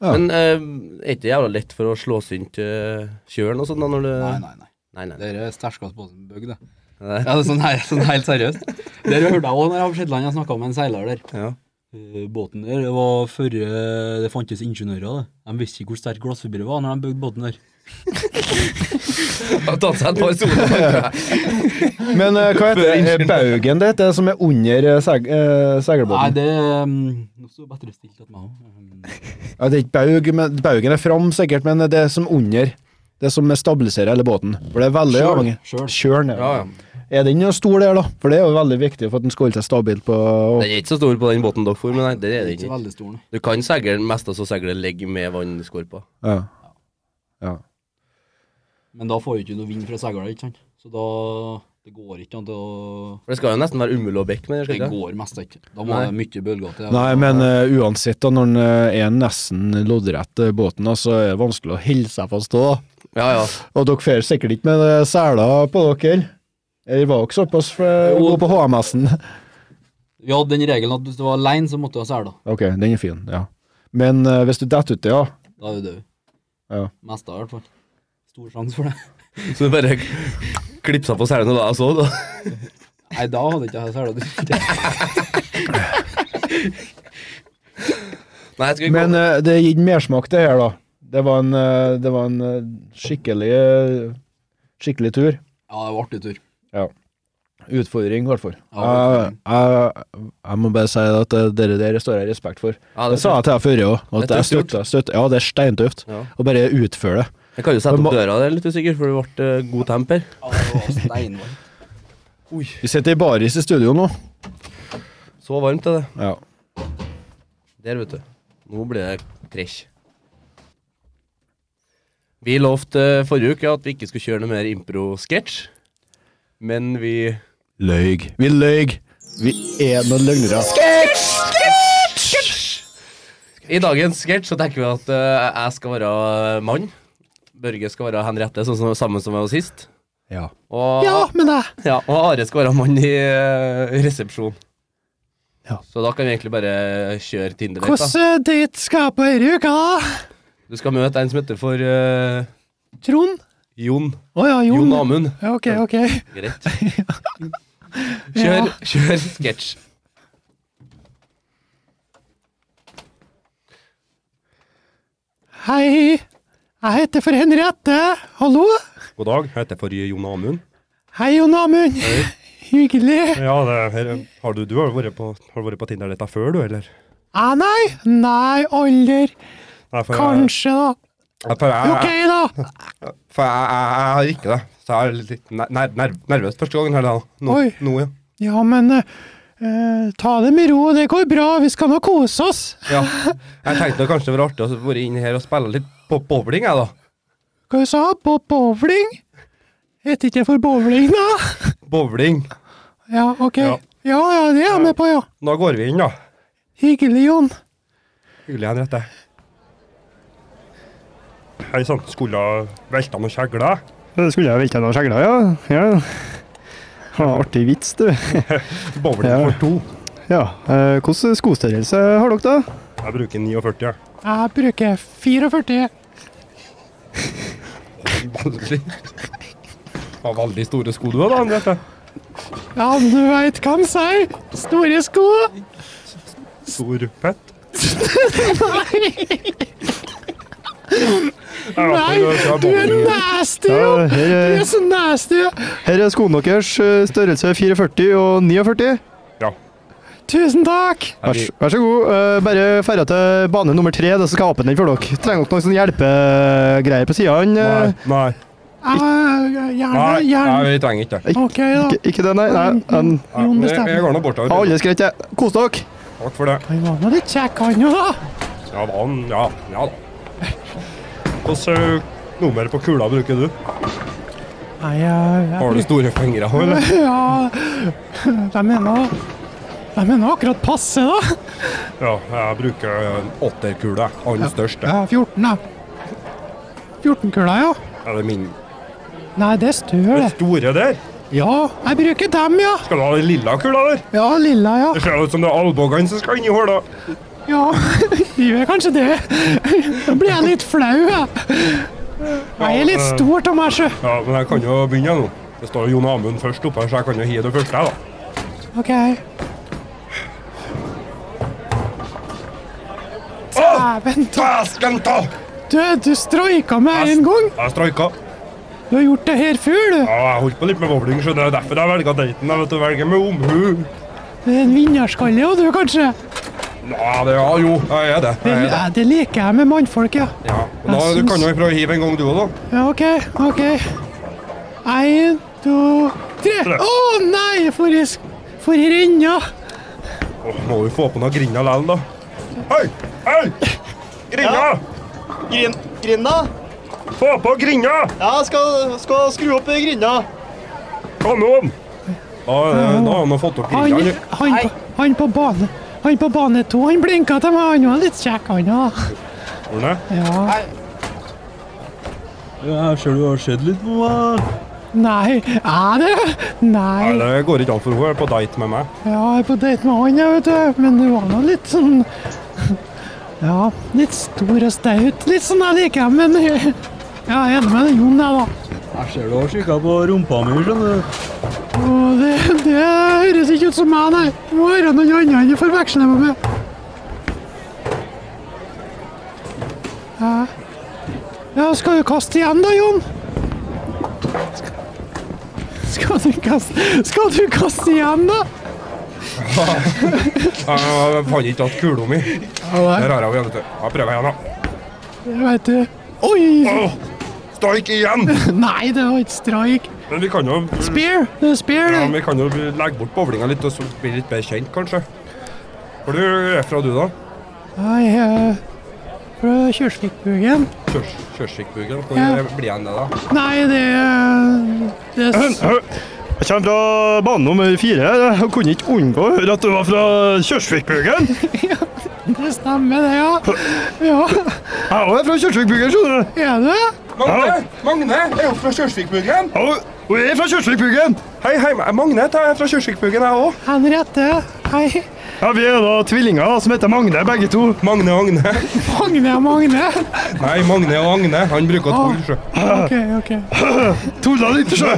Ja. Men eh, er ikke det jævla lett for å slå synt uh, kjølen og sånn da, når du Nei, nei, nei. Nei, nei. Det er sterkest båt som bøgg, det. Nei. Ja, det er sånn, her, sånn helt seriøst. Det hørte jeg òg når jeg var på Shetland. Jeg snakka med en seiler der. Ja. Eh, Båten der det var før eh, det fantes ingeniører. det. De visste ikke hvor sterk glassfiber det var når de bygde båten der. *laughs* Ta seg et par *laughs* soler. Men eh, *laughs* hva heter det? Er Baugen det heter, som er under eh, seg, eh, Nei, seilbåten? det um, Nå står det bedre stilt enn meg òg. Ja, det er ikke Baug, men Baugen er fram, sikkert, men det er som under. Det som stabiliserer hele båten. For det er veldig Kjøl, avhengig. kjøl. Kjølen, Ja, ja. ja. Er den jo stor der, da? For det er jo veldig viktig for at den skal holde seg stabil på Den er ikke så stor på den båten dere får, men nei, det er det Ikke ikke. veldig stor, nei. Du kan seile den mest, og så seile legg med vannskorpa. ja. ja. Men da får du ikke noe vind fra segla, ikke sant? Så da Det går ikke an til å For det skal jo nesten være umulig å bekke med den. Det skal det ikke? går mest ikke. Da må Nei. det mye bølger til. Nei, men eh, uansett, da, når den eh, er nesten loddrett eh, båten, da, så er det vanskelig å holde seg fast òg. Ja, ja. Og dere fer sikkert ikke med eh, seler på dere. Eller var dere såpass eh, Jo. gode på HMS-en? Vi hadde den regelen at hvis du var aleine, så måtte du ha sela. *laughs* Ok, den er fin, ja. Men eh, hvis du detter uti, ja. Da er du død. Ja. Mest av i hvert fall. Stor sjanse for det. Så du bare klipsa på selene da, og så, da. Nei, da hadde ikke jeg sela. Nei, jeg skal ikke Men eh, det gir mersmak, det her, da. Det var en, eh, det var en eh, skikkelig, eh, skikkelig tur. Ja, det var artig tur. Utfordring, i hvert fall. Ja, jeg, jeg, jeg må bare si at eh, dere der står jeg i respekt for. Ja, det, det sa jeg til deg før òg. Det er tøft gjort. Ja, det er steintøft. Ja. Å bare utføre det. Jeg kan jo sette opp døra der litt usikker, for det ble eh, god temper. Ja, det var steinvarmt. Vi sitter i baris i studio nå. Så varmt er det. Ja. Der, vet du. Nå blir det krasj. Vi lovte eh, forrige uke at vi ikke skulle kjøre noe mer impro-sketsj, men vi Løy. Vi løy. Vi er noen løgnere. I dagens sketsj så tenker vi at eh, jeg skal være eh, mann. Børge skal være Henriette, sånn som, sammen som jeg var sist. Ja. Og, ja, men jeg ja, og Are skal være mann i eh, resepsjon. Ja. Så da kan vi egentlig bare kjøre Tinder-date. da. Hvordan eh, date skal jeg på denne uka, da? Du skal møte en som heter for eh, Trond? Jon. Å ja, Jon Jon. Amund. Ja, ok, ok. *laughs* Greit. Kjør, kjør sketsj. Hei, jeg heter for Henriette. Hallo? God dag, jeg heter for Jon Amund. Hei, Jon Amund. Hyggelig. Ja, har du, har vært på, Tinder dette før, du, eller? Ah, nei, nei, alder. Kanskje, da. Ok, da. For jeg, jeg, jeg har ikke det. Så jeg er litt ner ner nervøs første gangen her da. Nå, Oi. nå ja. Ja, men eh, eh, ta det med ro. Det går bra. Vi skal nå kose oss. ja. Jeg tenkte det kanskje var artig å være inn her og spille litt bo- bowling, jeg, da. Hva sa du? På bowling? Heter ikke det for bowling, da? Bowling. Ja, ok. Ja. Ja, ja, det er jeg med på, ja. Da går vi inn, da. Hyggelig, Jon. Hyggelig, Henriette. Hei sann, skulle ha velta noen kjegler? Det skulle jeg velta noen skjegler, ja. ja. Ha, artig vits, du. Bowling Ja. for to. Ja, eh, Hvilken skostørrelse har dere, da? Jeg bruker 49. Jeg bruker 44. Veldig Har veldig store sko du har, da, Henriette. Ja, men du veit hva han sier. Store sko. Stor pett. Nei, du er nasty, Ja, her, Jon. Du er er, så nasty. her er skoene deres. eh, Størrelse 44 og 49. Tusen takk. Vær, så- vær så god. eh, bare ferda til bane nummer tre, da, så skal jeg åpne den for dere. Trenger dere noen sånne hjelpegreier på sidene? eh? nei. Eh, Gjerne, Nei, gjerne. nei, vi trenger ikke det. Ok, da. Ikke, ikke det, nei? nei. en- Jon Nei, jeg, jeg bestemmer. går nå bortover. Ja, alle skrek jeg. Kos dere. Takk for det. Han var nå litt kjekk, han jo, da. Ja, vann, ja, ja da. Hvilket nummer på kula bruker du? Nei, jeg, jeg Har du store fingre òg, eller? Ja, de er nå De er nå akkurat passe, da. Ja, jeg bruker en åtterkule. Aller største. Ja, 14, da. 14-kula, ja. Er det min Nei, det er støl, Den det. store der? Ja, jeg bruker dem, ja. Skal du ha den lilla kula der? Ja, lilla, ja. Det ser ut som det er albuene som skal inn i håla. Ja, *laughs* gjør kanskje det. *laughs* Da blir jeg litt flau, jeg. Jeg er litt stor av meg, sjø. Ja, men jeg kan jo begynne nå. Det står jo Jon Amund først oppe her, så jeg kan jo gi det første, jeg, da. OK. Dæven ta! Dæsken Ah! ta! Du, du stroika meg en gang. Jeg streika. Du har gjort det her før, du. Ja, jeg holdt på litt med bowling, så det er derfor jeg velger daten. Jeg vet du velger med omhu. Du er en vinnerskalle, ja, du, kanskje. Ja, det, ja, jo, jeg er det. Det, Jeg er det. ja, det liker jeg med mannfolk, ja. Ja, men da, du kan jo prøve å hive en gang du òg, da. Ja, OK. OK. Én, to, tre. Å nei, for i sk- for i renna. Åh, må vi få på noe grinda likevel, da. Hei! Hei! Grinda! Grin, grinda? Få på grinda! Ja, skal, skal skru opp grinda. Kanon! Da da har han fått opp Han, grinda. han, på- han på bane Han på bane to, han blinka til meg. Han var litt kjekk, han òg. Ordne. Ja. Ja, ser du har sett litt på meg. Nei, er det? Nei, Nei. det går ikke an, for hun er på date med meg. Ja, jeg er på date med han, jeg, vet du. Men det var nå litt sånn *laughs* Ja, litt stor og staut. Litt sånn jeg liker ham, men *laughs* jeg er enig med Jon, jeg, da. Jeg ser du har kikka på rumpa mi, skjønner du. Å, det, det høres ikke ut som meg, nei. Det må være noen andre enn du forveksler meg med. Ja. ja, skal du kaste igjen da, Jon? Skal du kaste, skal du kaste igjen da? Jeg fant ikke igjen kula mi. Der har jeg henne, vet du. Jeg prøver igjen, da. Jeg vet du. Oi! *laughs* Åh, Strike igjen! Nei, det var ikke strike. Men vi kan jo Spear, det er spear ja, det. men vi kan jo legge bort bowlinga litt og så bli litt bedre kjent, kanskje. Hvor du er fra du, da? Nei, eh, fra Kjørsvikbugen. Kjørs, Kjørsvikbugen? Hvor Ja. blir han det, da? Nei, det er... Det er Jeg kommer fra bane nummer fire. her. Jeg kunne ikke unngå å høre at du var fra *laughs* Kjørsvikbugen. Det stemmer det, ja. Ja, Jeg òg er fra Kjørsvikbugen, skjønner du. er du? Magne! Magne! Jeg er jo fra Kjørsvikbugen! Ja, og jeg er fra Kjørsvikbugen. Hei, hei, Magne heter jeg. Jeg er fra Kjørsvikbugen, jeg òg. Henriette, hei. Ja, Vi er da tvillinger som heter Magne, begge to. Magne og Agne. Magne og Magne. *laughs* Nei, Magne og Agne. Han bruker tull, sjø. Ok, ok. Tulla litt, sjø!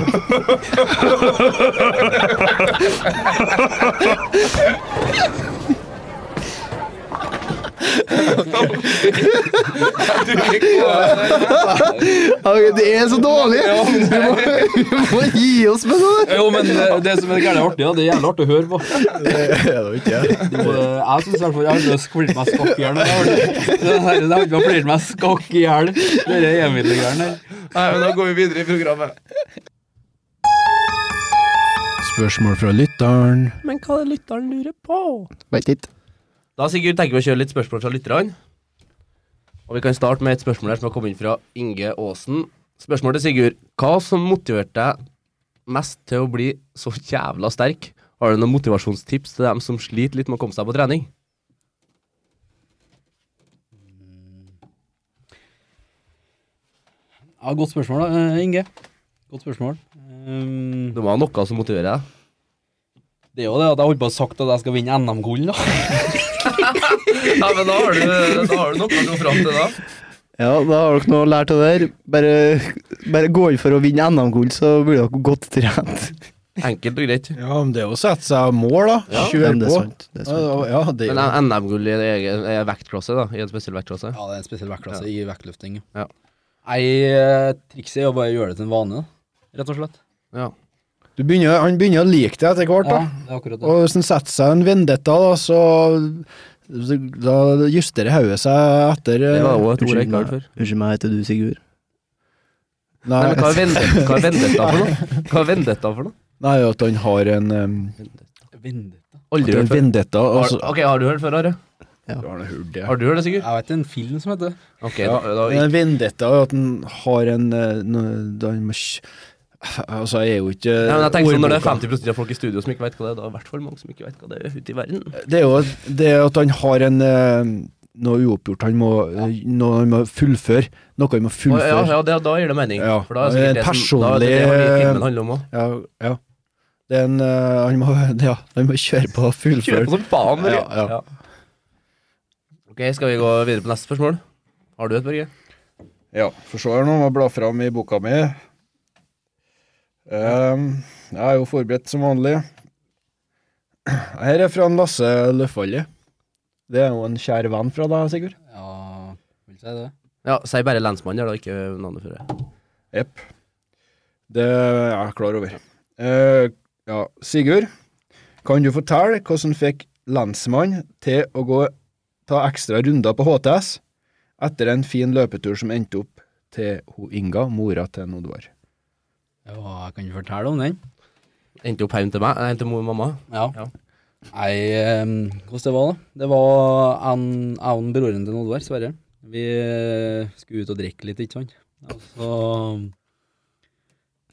Ok, Det er så dårlig! Vi må, vi må gi oss med det. Jo, men eh, det som er gærent artig, ja, det er jævlig artig å høre på. Det, eh, jeg syns i hvert fall jeg har lyst til å flirte meg skakk i hjel. Det har jeg har ikke flirte meg skakk i hjel. Det er Emil-greiene her. *laughs* Nei, men Da går vi videre i programmet. Spørsmål fra lytteren. Men hva er det lytteren lurer på? Vent litt. Da Sigurd tenker vi å kjøre litt spørsmål fra lytterne. Og vi kan starte med et spørsmål her som har kommet inn fra Inge Aasen. Spørsmål til Sigurd. Hva som motiverte deg mest til å bli så jævla sterk? Har du noen motivasjonstips til dem som sliter litt med å komme seg på trening? Ja, godt spørsmål, da, eh, Inge. Godt spørsmål. Ehm, Det må ha noe som motiverer deg. det er jo det at jeg holdt på å sagt at jeg skal vinne NM-gull, da. Ja, men da har du, noe å gå fram til, da. Ja, da har dere noe lært av det der. Bare, bare gå inn for å vinne NM-gull, så blir dere godt trent. Enkelt og greit. Ja, men det er jo å sette seg mål, da. Ja, Kjøre men det er på. sant, det er sant. Ja, Ja, det er Men jo NM-gull i en egen i en vektklasse, da. I en spesiell vektklasse. Ja, det er en spesiell vektklasse i vektløfting. ja. Ja. Nei, eh, trikset er å bare gjøre det til en vane, da, rett og slett. Ja. du begynner, Han begynner å like deg etter hvert, da. Ja, det er akkurat det. Og hvis han setter seg en vendetta, da, så da justerer hodet seg etter eh, Det var også et ord jeg Unnskyld ikke har meg, hørt før. unnskyld meg, heter du Sigurd? Nei, men hva Nei, er vend- hva er vendetta for noe? Hva er vendetta for noe? *laughs* nei, at han har en um, Vendetta. Aldri en hørt før. vendetta. og Har, så- ok, har du hørt før, Are? Har du hørt det, Sigurd? Jeg vet en film som heter det. Ok, Ja, da, da, men en vendetta er at han har en eh, nå- da han må kj- Altså, jeg er jo ikke Ja, men jeg tenker sånn Når det er ordboka. 50 av folk i studio som ikke vet hva det er, da er det i hvert fall mange som ikke vet hva det er ute i verden. Det er jo det at han har en eh, noe uoppgjort han må, noe han må fullføre. Noe han må Og, ja, fullføre. ja, det, da gir det mening. Ja. For da er det sikkert det som- da er det det Personlig- hele filmen handler om òg. Ja, ja. Det er en eh, han, må, *laughs* ja, han må kjøre på og Kjøre på fullføre. som faen. eller? Ja, ja. Ok, Skal vi gå videre på neste spørsmål? Har du et, Børge? Ja, for så er det noe å bla fram i boka mi. Ehm, jeg er jo forberedt som vanlig. Her er fra en Lasse Løfvalli. Det er jo en kjær venn fra deg, Sigurd. Ja, vil si det. Ja, Si bare lensmann, der, da, ikke navnet før. Jepp. Det er jeg klar over. Eh, ja, Sigurd, kan du fortelle hvordan fikk lensmann til å gå ta ekstra runder på HTS etter en fin løpetur som endte opp til ho Inga, mora til en Oddvar? Ja, jeg kan fortelle om den. Endte opp hjem til meg, nei, til mor og mamma. Ja. Ja. Nei, eh, hvordan det var da? Det var en, jeg og en broren til Oddvar, Sverre. Vi eh, skulle ut og drikke litt, ikke sant? Og så,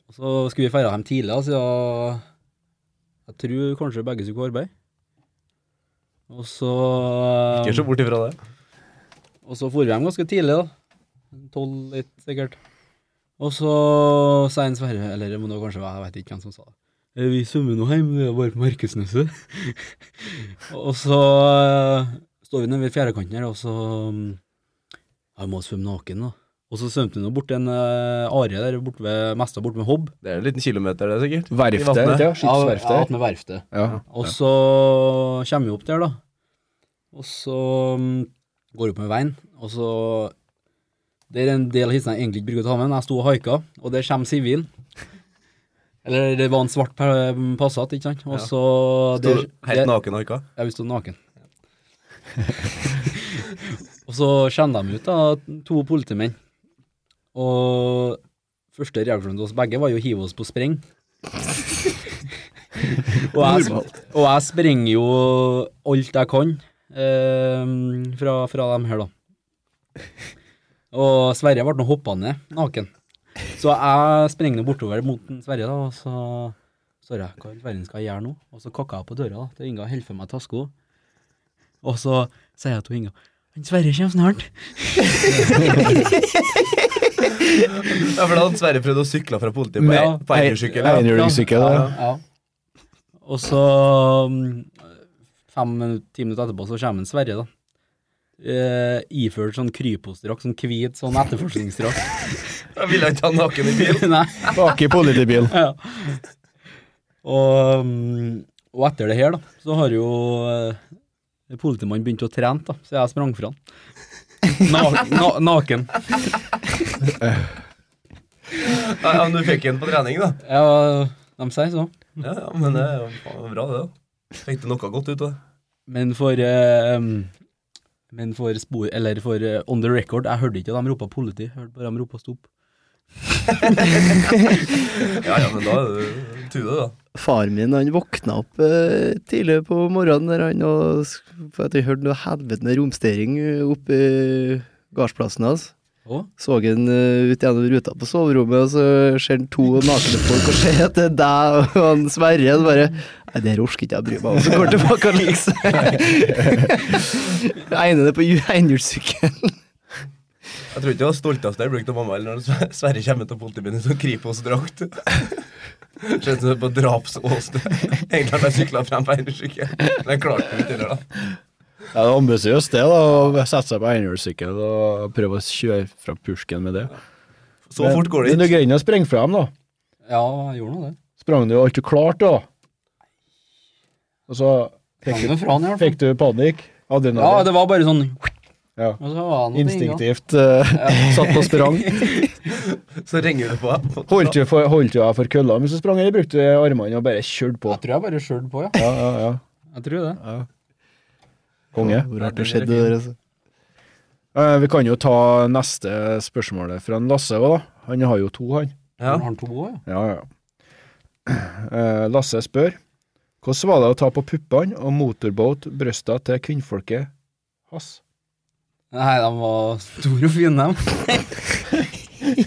og så skulle vi feire hjem tidlig, altså. Jeg tror kanskje begge skulle på arbeid. Og så Ikke se bort ifra det. Og så for vi hjem ganske tidlig, da. Tolv litt, sikkert. Og så sa en Sverre, eller det må nå kanskje være, jeg vet ikke hvem som sa det. «Eh, Vi svømmer nå hjem, det er bare på Markesneset. *laughs* og så eh, står vi nede ved fjerdekanten her, og så mm, Jeg må svømme naken, da. Og så svømte vi nå bort til en eh, are der borte ved Mesta, borte ved Hobb. Det er en liten kilometer, det, sikkert. I Verftet, vannet. vet jeg. Ja, Skipsverftet. ved verftet. Ja. Og så kommer vi opp der, da. Og så mm, går vi opp med veien, og så Det er en del av historien jeg egentlig ikke bruker å ta med, men jeg sto og haika, og der kommer sivilen. Eller det var en svart pa- Passat, ikke sant. Og så der- der- Helt naken og ikke? ja, vi stod naken. *laughs* og så kjenner de ut da, to politimenn. Og første reaksjonen til oss begge var jo å hive oss på spreng. *laughs* og, jeg, og jeg sprenger jo alt jeg kan eh, fra, fra dem her, da. Og Sverre ble nå hoppa ned naken. Så jeg sprenger nå bortover mot den Sverre, da, og så står jeg hva i all verden skal jeg gjøre nå? Og så kakka jeg på døra da, til Inga holder for meg taska. Og så sier jeg til Inga han Sverre kommer snart. Ja, for da hadde Sverre prøvd å sykle fra politiet på, Med- på enhjulssykkel. Einhjulssykkel, Ja, ja. ja. Og så mm, fem minutter, ti minutter etterpå så kommer en Sverre, da. Eh, iført sånn Kripos-drakt, sånn hvit sånn etterforskningsdrakt. Jeg ville ikke ha naken i bil. *laughs* Nei. Bak i politibil. Ja. Og, mm, og etter det her, da, så har jo eh, politimannen begynt å trene, da, så jeg sprang fra han. Na na naken. Ja, men du fikk en på trening, da. Ja, de sier så. Ja, ja men det er jo faen bra, det. da Fikk du noe godt ut av det? Men for eh, Men for spor Eller for eh, on the record, jeg hørte ikke at de ropa politi, jeg hørte bare de ropa stopp. Ja, ja, men da er det Tude, da. Far min han våkna opp eh, tidlig på morgenen der han og sk- for at jeg hørte noe helvete med romstering oppe i gardsplassen hans. Å? Så han eh, ut gjennom ruta på soverommet, og så ser han to nakne folk og ser at det er deg og han Sverre. Og bare Nei, det her orker ikke jeg bry meg om. Så går han tilbake og *laughs* legger seg. Egner det på ju- enhjulssykkelen. Jeg tror ikke det var stolteste jeg brukte av mamma eller når Sve- Sverre kommer til politibilen i sånn Kripos-drakt. Skjønte det på drapsåsted. Egentlig hadde jeg sykla frem på enhjulssykkel, men jeg klarte det ikke heller, da. Ja, det er ambisiøst, det, da. Å sette seg på enhjulssykkel og prøve å kjøre fra pursken med det. Så fort går det Men du ikke. greide å sprenge fra dem, da. Ja, jeg gjorde nå det. Sprang du alt du klarte, da? Og så fikk Sprang du, nå fra han, i hvert fall. fikk du panikk? Ja, Adrenalin? det var bare sånn Ja. Og så var han noe ting, da. Instinktivt eh, *laughs* satt og sprang. Så ringer du på. deg. Holdt du, for, holdt du deg for kølla mens du sprang, eller brukte du armene og bare kjørte på? Jeg tror jeg bare skjølte på, ja. Ja, ja, ja. Jeg tror det. Konge. Hvor har det skjedd, det der, altså? Eh, Vi kan jo ta neste spørsmålet fra en Lasse òg. Han har jo to, han. Ja. Har han to år, ja? Ja, ja. Eh, Lasse spør hvordan var det å ta på puppene og motorbåt brysta til kvinnfolket hans? Nei, de var store og fine, dem.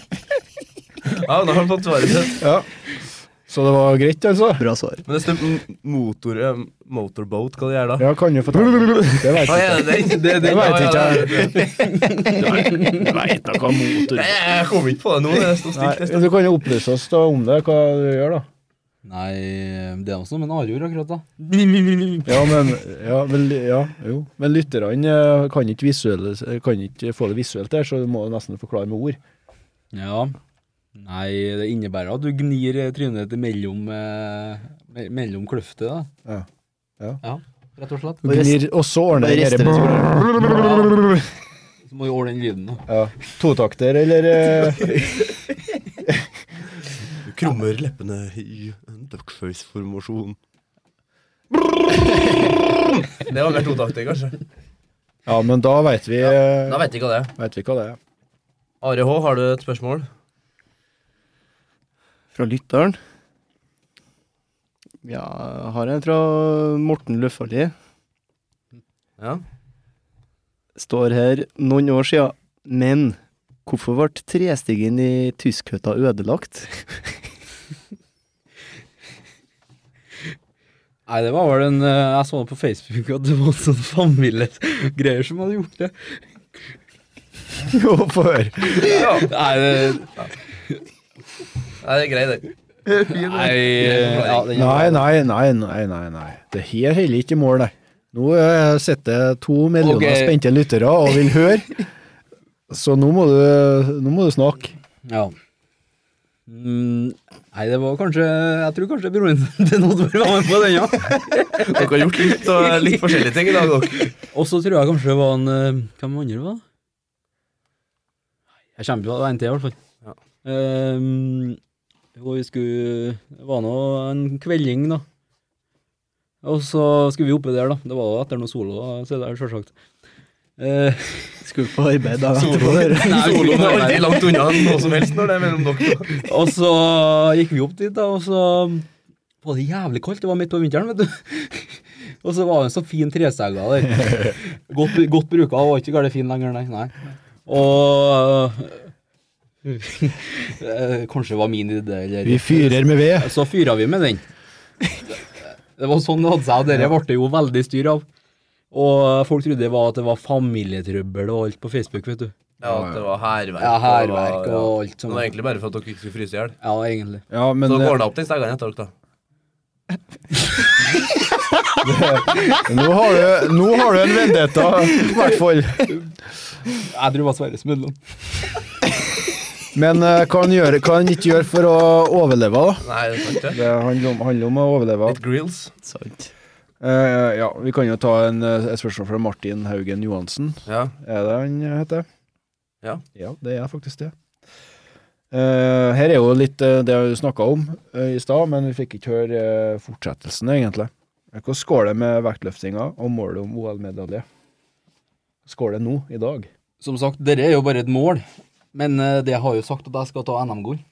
ja, nå har han fått svaret sitt. Ja. Så det var greit, altså? Bra svar. Men det står m- motor, eh, motorboat, hva det gjør da? Ja, kan du fortelle? Det vet Hva jeg ikke. er det den? Det, det vet ikke jeg. Jeg veit noe om motor. Jeg kom ikke på det nå. Det sto stilt. Nei, det sto- du kan jo opplyse oss da om det, hva du gjør, da. Nei, det er også noe med Narjord akkurat, da. Ja, men, ja, vel, ja, jo. men lytterne eh, kan ikke, visuelle- kan ikke få det visuelt der, så du må nesten forklare med ord. Ja. Nei, det innebærer at du gnir eh, trynet ditt mellom, eh, me- mellom kløftet, da. Ja. Ja. Rett og slett. Og, gnir, og så Og ordner jeg rister dette. litt på det. Ja. Så må du ordne den lyden, da. Ja. Totakter, eller eh, Du krummer leppene i en duckface-formasjon. Det var mer totaktig, kanskje. Ja, men da veit vi, eh, Da vet jeg hva det er. vet vi hva det er. Are H, har du et spørsmål? Fra lytteren? Ja, har en fra Morten Løfali. Ja. Står her noen år siden. Men hvorfor ble trestigen i Tyskhøtta *laughs* ødelagt? Nei, det var vel en eh, Jeg så det på Facebook at det var sånn familiegreier som hadde gjort det. Jo, få høre. Nei, det, Nei, det er greit, det. nei eh, ja, den, Nei, nei, nei, nei, nei. nei. Det her holder ikke i mål, nei. Nå eh, sitter to millioner Ok. spente lyttere og vil *laughs* høre, så nå må du, nå må du snakke. ja. Mm, nei, det var kanskje Jeg tror kanskje broren *laughs* til Oddvar var med på den, ja. Dere har gjort litt, *laughs* og litt forskjellige ting i dag, dere. Og så tror jeg kanskje det var en eh, Hvem andre var det? Jeg kommer på det, det var en til, i hvert fall. Ja. Ehm, og vi skulle Det var nå en kvelding, da. Og så skulle vi oppe der, da. Det var jo etter noe solo, da, så det er sjølsagt. Eh, Skulle på arbeid da. *laughs* Nei, vi skulle Soloen ikke er være alltid der. langt unna noe som helst når det er mellom dere. Og så gikk vi opp dit, da, og så var det jævlig kaldt. Det var midt på vinteren, vet du. Og så var det en så fin trestega der. Godt, godt bruka, og var ikke galt fin lenger, nei. nei. Og eh, Kanskje det var min idé, eller Vi fyrer med ved. Så fyra vi med den. Det var sånn det hadde seg, og dette ble det jo veldig styr av. Og folk trodde det var at det var familietrøbbel og alt på Facebook, vet du. Ja, at det var hærverk. Ja, og- hærverk og ja. alt Det sånt. var egentlig bare for at dere ikke skulle fryse i hjel. Ja, egentlig. Ja, men Så eh, går det opp den stegene etter dere, da. eh, Nå har du, nå har du en *laughs* vendetta, i hvert fall. Jeg tror det var Sverre som ødela den. Men eh, hva han gjør- hva han ikke gjør for å overleve, da? Nei, det er sant det. Det handler om, handler om å overleve. Litt grills. Sant. Eh, ja, vi kan jo ta en, eh, et spørsmål fra Martin Haugen Johansen. Ja. Er det han heter? Ja. Ja, det er faktisk det. Eh, her er jo litt eh, det vi snakka om eh, i stad, men vi fikk ikke høre eh, fortsettelsen, egentlig. Eh, Hvordan går det med vektløftinga og målet om OL-medalje? Hvordan går det nå, i dag? Som sagt, dette er jo bare et mål, men eh, det har jo sagt at jeg skal ta NM-gull.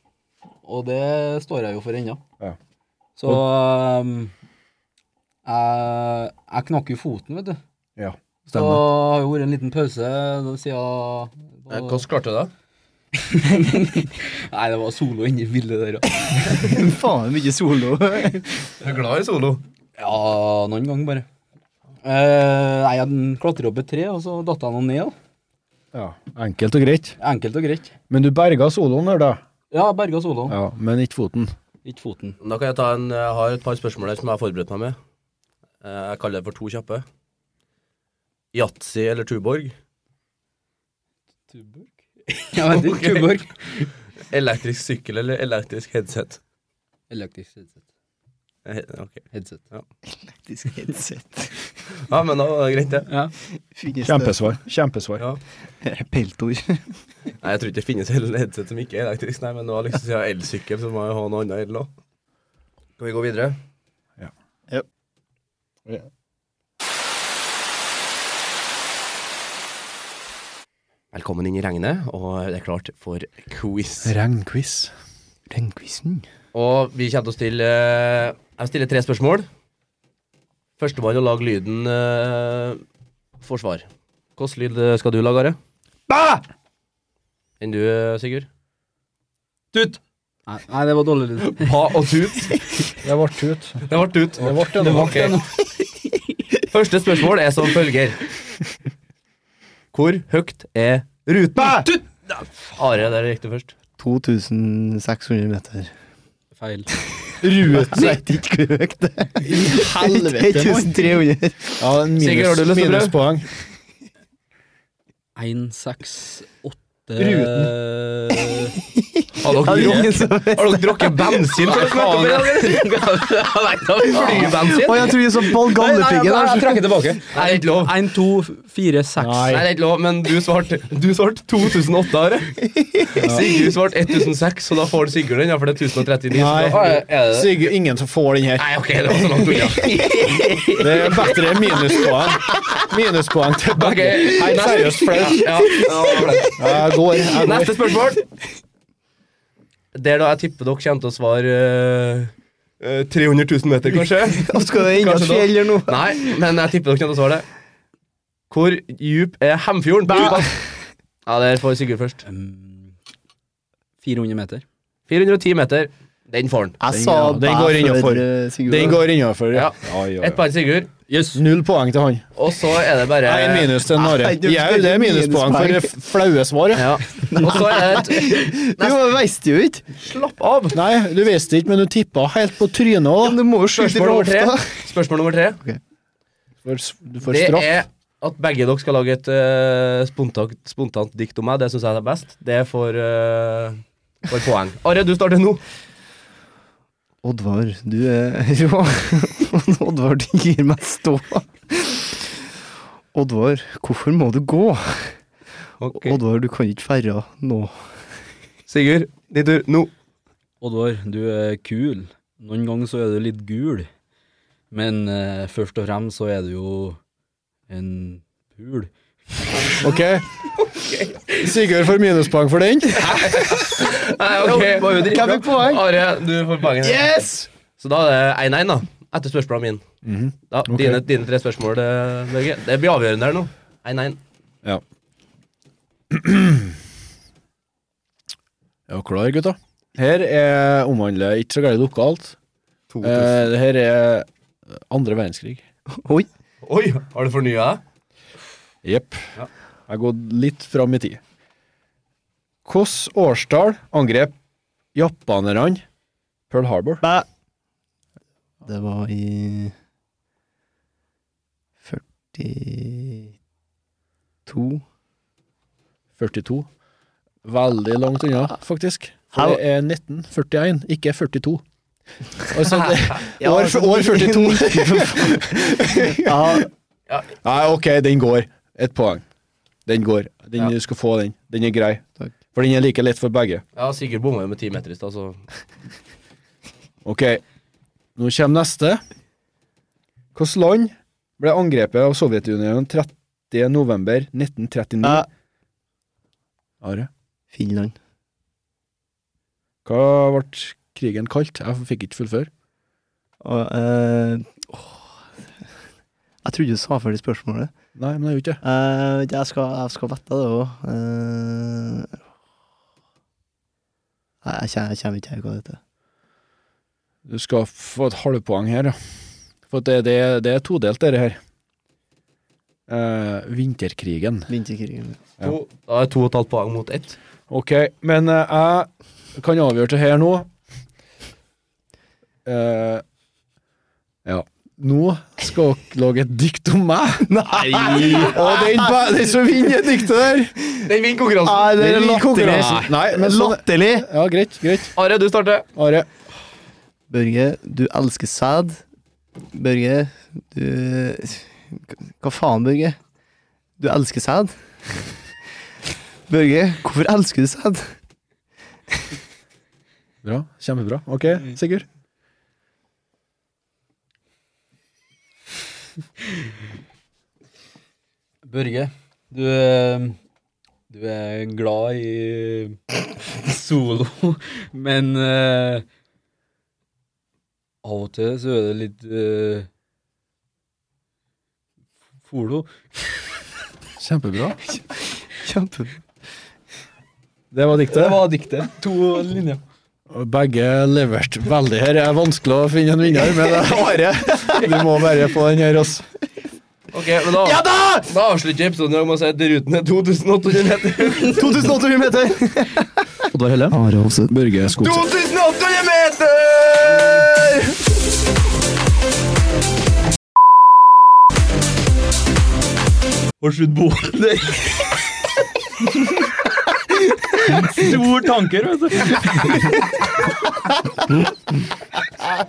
Og det står jeg jo for ennå. Ja. Så ehm, jeg, jeg knakk jo foten, vet du. Ja, Så stemmer. har jo vært en liten pause da siden Eh, Hvordan klarte du det? *laughs* Nei, det var solo inni bildet der, ja. Faen, mye solo. Du er glad i solo. Ja, noen ganger bare. Eh, nei, jeg klatra opp et tre, og så datt jeg nå ned. *laughs* Ja, Enkelt og greit. da. Enkelt og greit. Men du berga soloen der, da. Ja, berga soloen, Ja, Men ikke foten. ikke foten. Da kan jeg ta en Jeg har et par spørsmål der som jeg har forberedt meg med. Eh, Jeg kaller det for to kjappe. Yatzy eller Tuborg? Tuborg? Jeg vet ikke. *laughs* Tuborg. Elektrisk sykkel eller elektrisk headset? Elektrisk headset. Eh, Ok. headset. Faktisk helt sett. Ja, men da var det greit, det. Ja. Finnes det- Kjempesvar. Kjempesvar. Ja. Peltor. *laughs* Nei, jeg tror ikke det finnes hele headset som ikke er elektrisk, nei, men nå har liksom siden elsykkel, så må jeg ha noe annet el òg. Skal vi gå videre? Ja. Ja. Ja. Velkommen inn i regnet, og det er klart for quiz. Regnquiz. Regnquizen. Og vi kommer til å stille eh, Jeg stiller tre spørsmål. Førstemann å lage lyden eh, forsvar. Hvilken lyd eh, skal du lage, Are? Bæ! Enn du, eh, Sigurd? Tut! Nei, nei, det var dårlig lyd. *laughs* Pa og tut. Det ble tut. Det ble tut. Det ble det. nå. Ok. Første spørsmål er som følger. Hvor høyt er ruten? Tut! Are, der gikk du først. 2600 meter. Feil. Ruten er ikke hvor høyt det er. *laughs* Helvete, mann. 1300. Ja, en minus, Sigurd, har du lyst til å prøve? minuspoeng. 1, 6, 8 *laughs* Ruten. Det Har dere er drukket- ingen som vet. har dere drukket bensin? før dere møtte opp i dag, *laughs* eller? Nei, da har vi flybensin. Å, jeg tror jeg så Pål Galdhøpiggen her. trekker tilbake. Nei, det er ikke lov. 1, 2, 4, 6. Nei, det er ikke lov, men du svarte, du svarte 2008, Are. Sigurd svarte 1006, så da får du Sigurd den, ja, for det er 1039. så Nei. da- er det- Sigurd, ingen som får den her. Nei, ok, det var så langt unna. *laughs* Det er bedre minuspoeng. Minuspoeng til Ok, begge. Nei, neste- seriøst flaut. Ja, ja, det var flaut. Jeg går. Jeg går. Neste spørsmål. Der da jeg tipper dere kommer til å svare eh, eh, 300 000 meter, *laughs* kanskje. Da Skal det inn i et Kanskje da. fjell eller noe? Nei, men jeg tipper dere kommer til å svare det. Hvor djup er Hemfjorden? Ja, der får Sigurd først. 400 meter. 410 meter. Den får han. Jeg Den- sa ja, den går bæ innenfor. før, eh, Sigurd. Den går innafor. Ja. Ja. Ja, ja, Ett ja. poeng til Sigurd. Jøss. Null poeng til han. Og så er det bare Én minus til Nare. Nei, du- Jau, det er minuspoeng for det flaue svar. ja. Ja. Og så er det et Jo, jeg visste jo ikke. Slapp av! Nei, du visste ikke, men du tippa helt på trynet Men òg. du må jo skyte fra Spørsmål nummer tre. hofta. Spørsmål nummer tre. Du får Det straff. er at begge dere skal lage et eh, spontant, spontant dikt om meg. Det syns jeg er best. Det får uh, *laughs* poeng. Are, du starter nå. Oddvar, du er *laughs* rå. Oddvar, du gir meg stå. Oddvar, hvorfor må du gå? Oddvar, du kan ikke ferde nå. Sigurd, din tur nå. Oddvar, du er kul. Noen ganger så er du litt gul. Men eh, først og fremst så er du jo en pul. Ok. *laughs* Sigurd får minuspoeng for den. Nei, ok. Hvem fikk poeng? Are, du får poenget. Yes! Så da er det 1-1, da. Etter spørsmålene mine. Da, dine, dine tre spørsmål, eh, Børge. Det blir avgjørende her nå. 1-1. Ja. *clears throat* Er dere klar, gutta? Her er omhandler ikke så gærent lokalt. Eh, det her er andre verdenskrig. Oi. Oi, har du fornya deg? Jepp. Ja. Jeg har gått litt fram i tid. Hvilket årstall angrep japanerne Pearl Harbor? Det var i 42 42. Veldig langt unna, faktisk. For det er 1941, ikke 42. Altså, det, *laughs* Ja, *laughs* år, altså, år 42. *laughs* Ja, Nei, ok, den går. Et poeng. Den går. Den, Du skal få den. Den er grei. Takk. For den er like lett for begge. Ja, Sigurd bomma jo med ti meter i stad, så Ok, nå kommer neste. Hvilket land ble angrepet av Sovjetunionen 30. november 1939? Eh. Are, Finland. hva ble krigen kalt? Jeg fikk ikke fullføre. Og, eh, åh. jeg trodde du sa ferdig spørsmålet. Nei, men jeg gjorde ikke det. Eh, jeg, skal, jeg skal vette det òg. Nei, jeg kjenner, jeg kjenner ikke til hva det heter. Du skal få et halvpoeng her, ja. For det, det, det er todelt, dette her. Eh, vinterkrigen. Vinterkrigen. to, Da er to og et halvt poeng mot ett. Ok, men eh, jeg kan avgjøre det her nå. Eh, ja. Nå skal dere lage et dikt om meg. *laughs* Nei! Og den, ba- den som vinner det diktet der Den vinner konkurransen. Nei, den vinner konkurransen. Nei, men sånn Latterlig! Ja, greit, greit. Are, du starter. Are. Børge, du elsker sæd. Børge, du Hva faen, Børge? Du elsker sæd? *laughs* Børge, hvorfor elsker du sæd? Bra. Kjempebra. Ok, Sigurd. Børge, du er, du er glad i solo, *laughs* men eh, av og til så er det litt eh, folo. Kjempebra. Kjempe... Det var Det diktet. var diktet. To linjer. Begge leverte veldig her. Det er vanskelig å finne en vinner, *laughs* men det er Are. Du må bare få den her, altså. Ok, men da, ja, da! da avslutter jeg episoden i dag med å si at ruten er 2800 meter. 2800 meter! Oddvar Helle. Børge Skogstad. 2800 meter! Og slutt båten der. Stor tanker, vet du.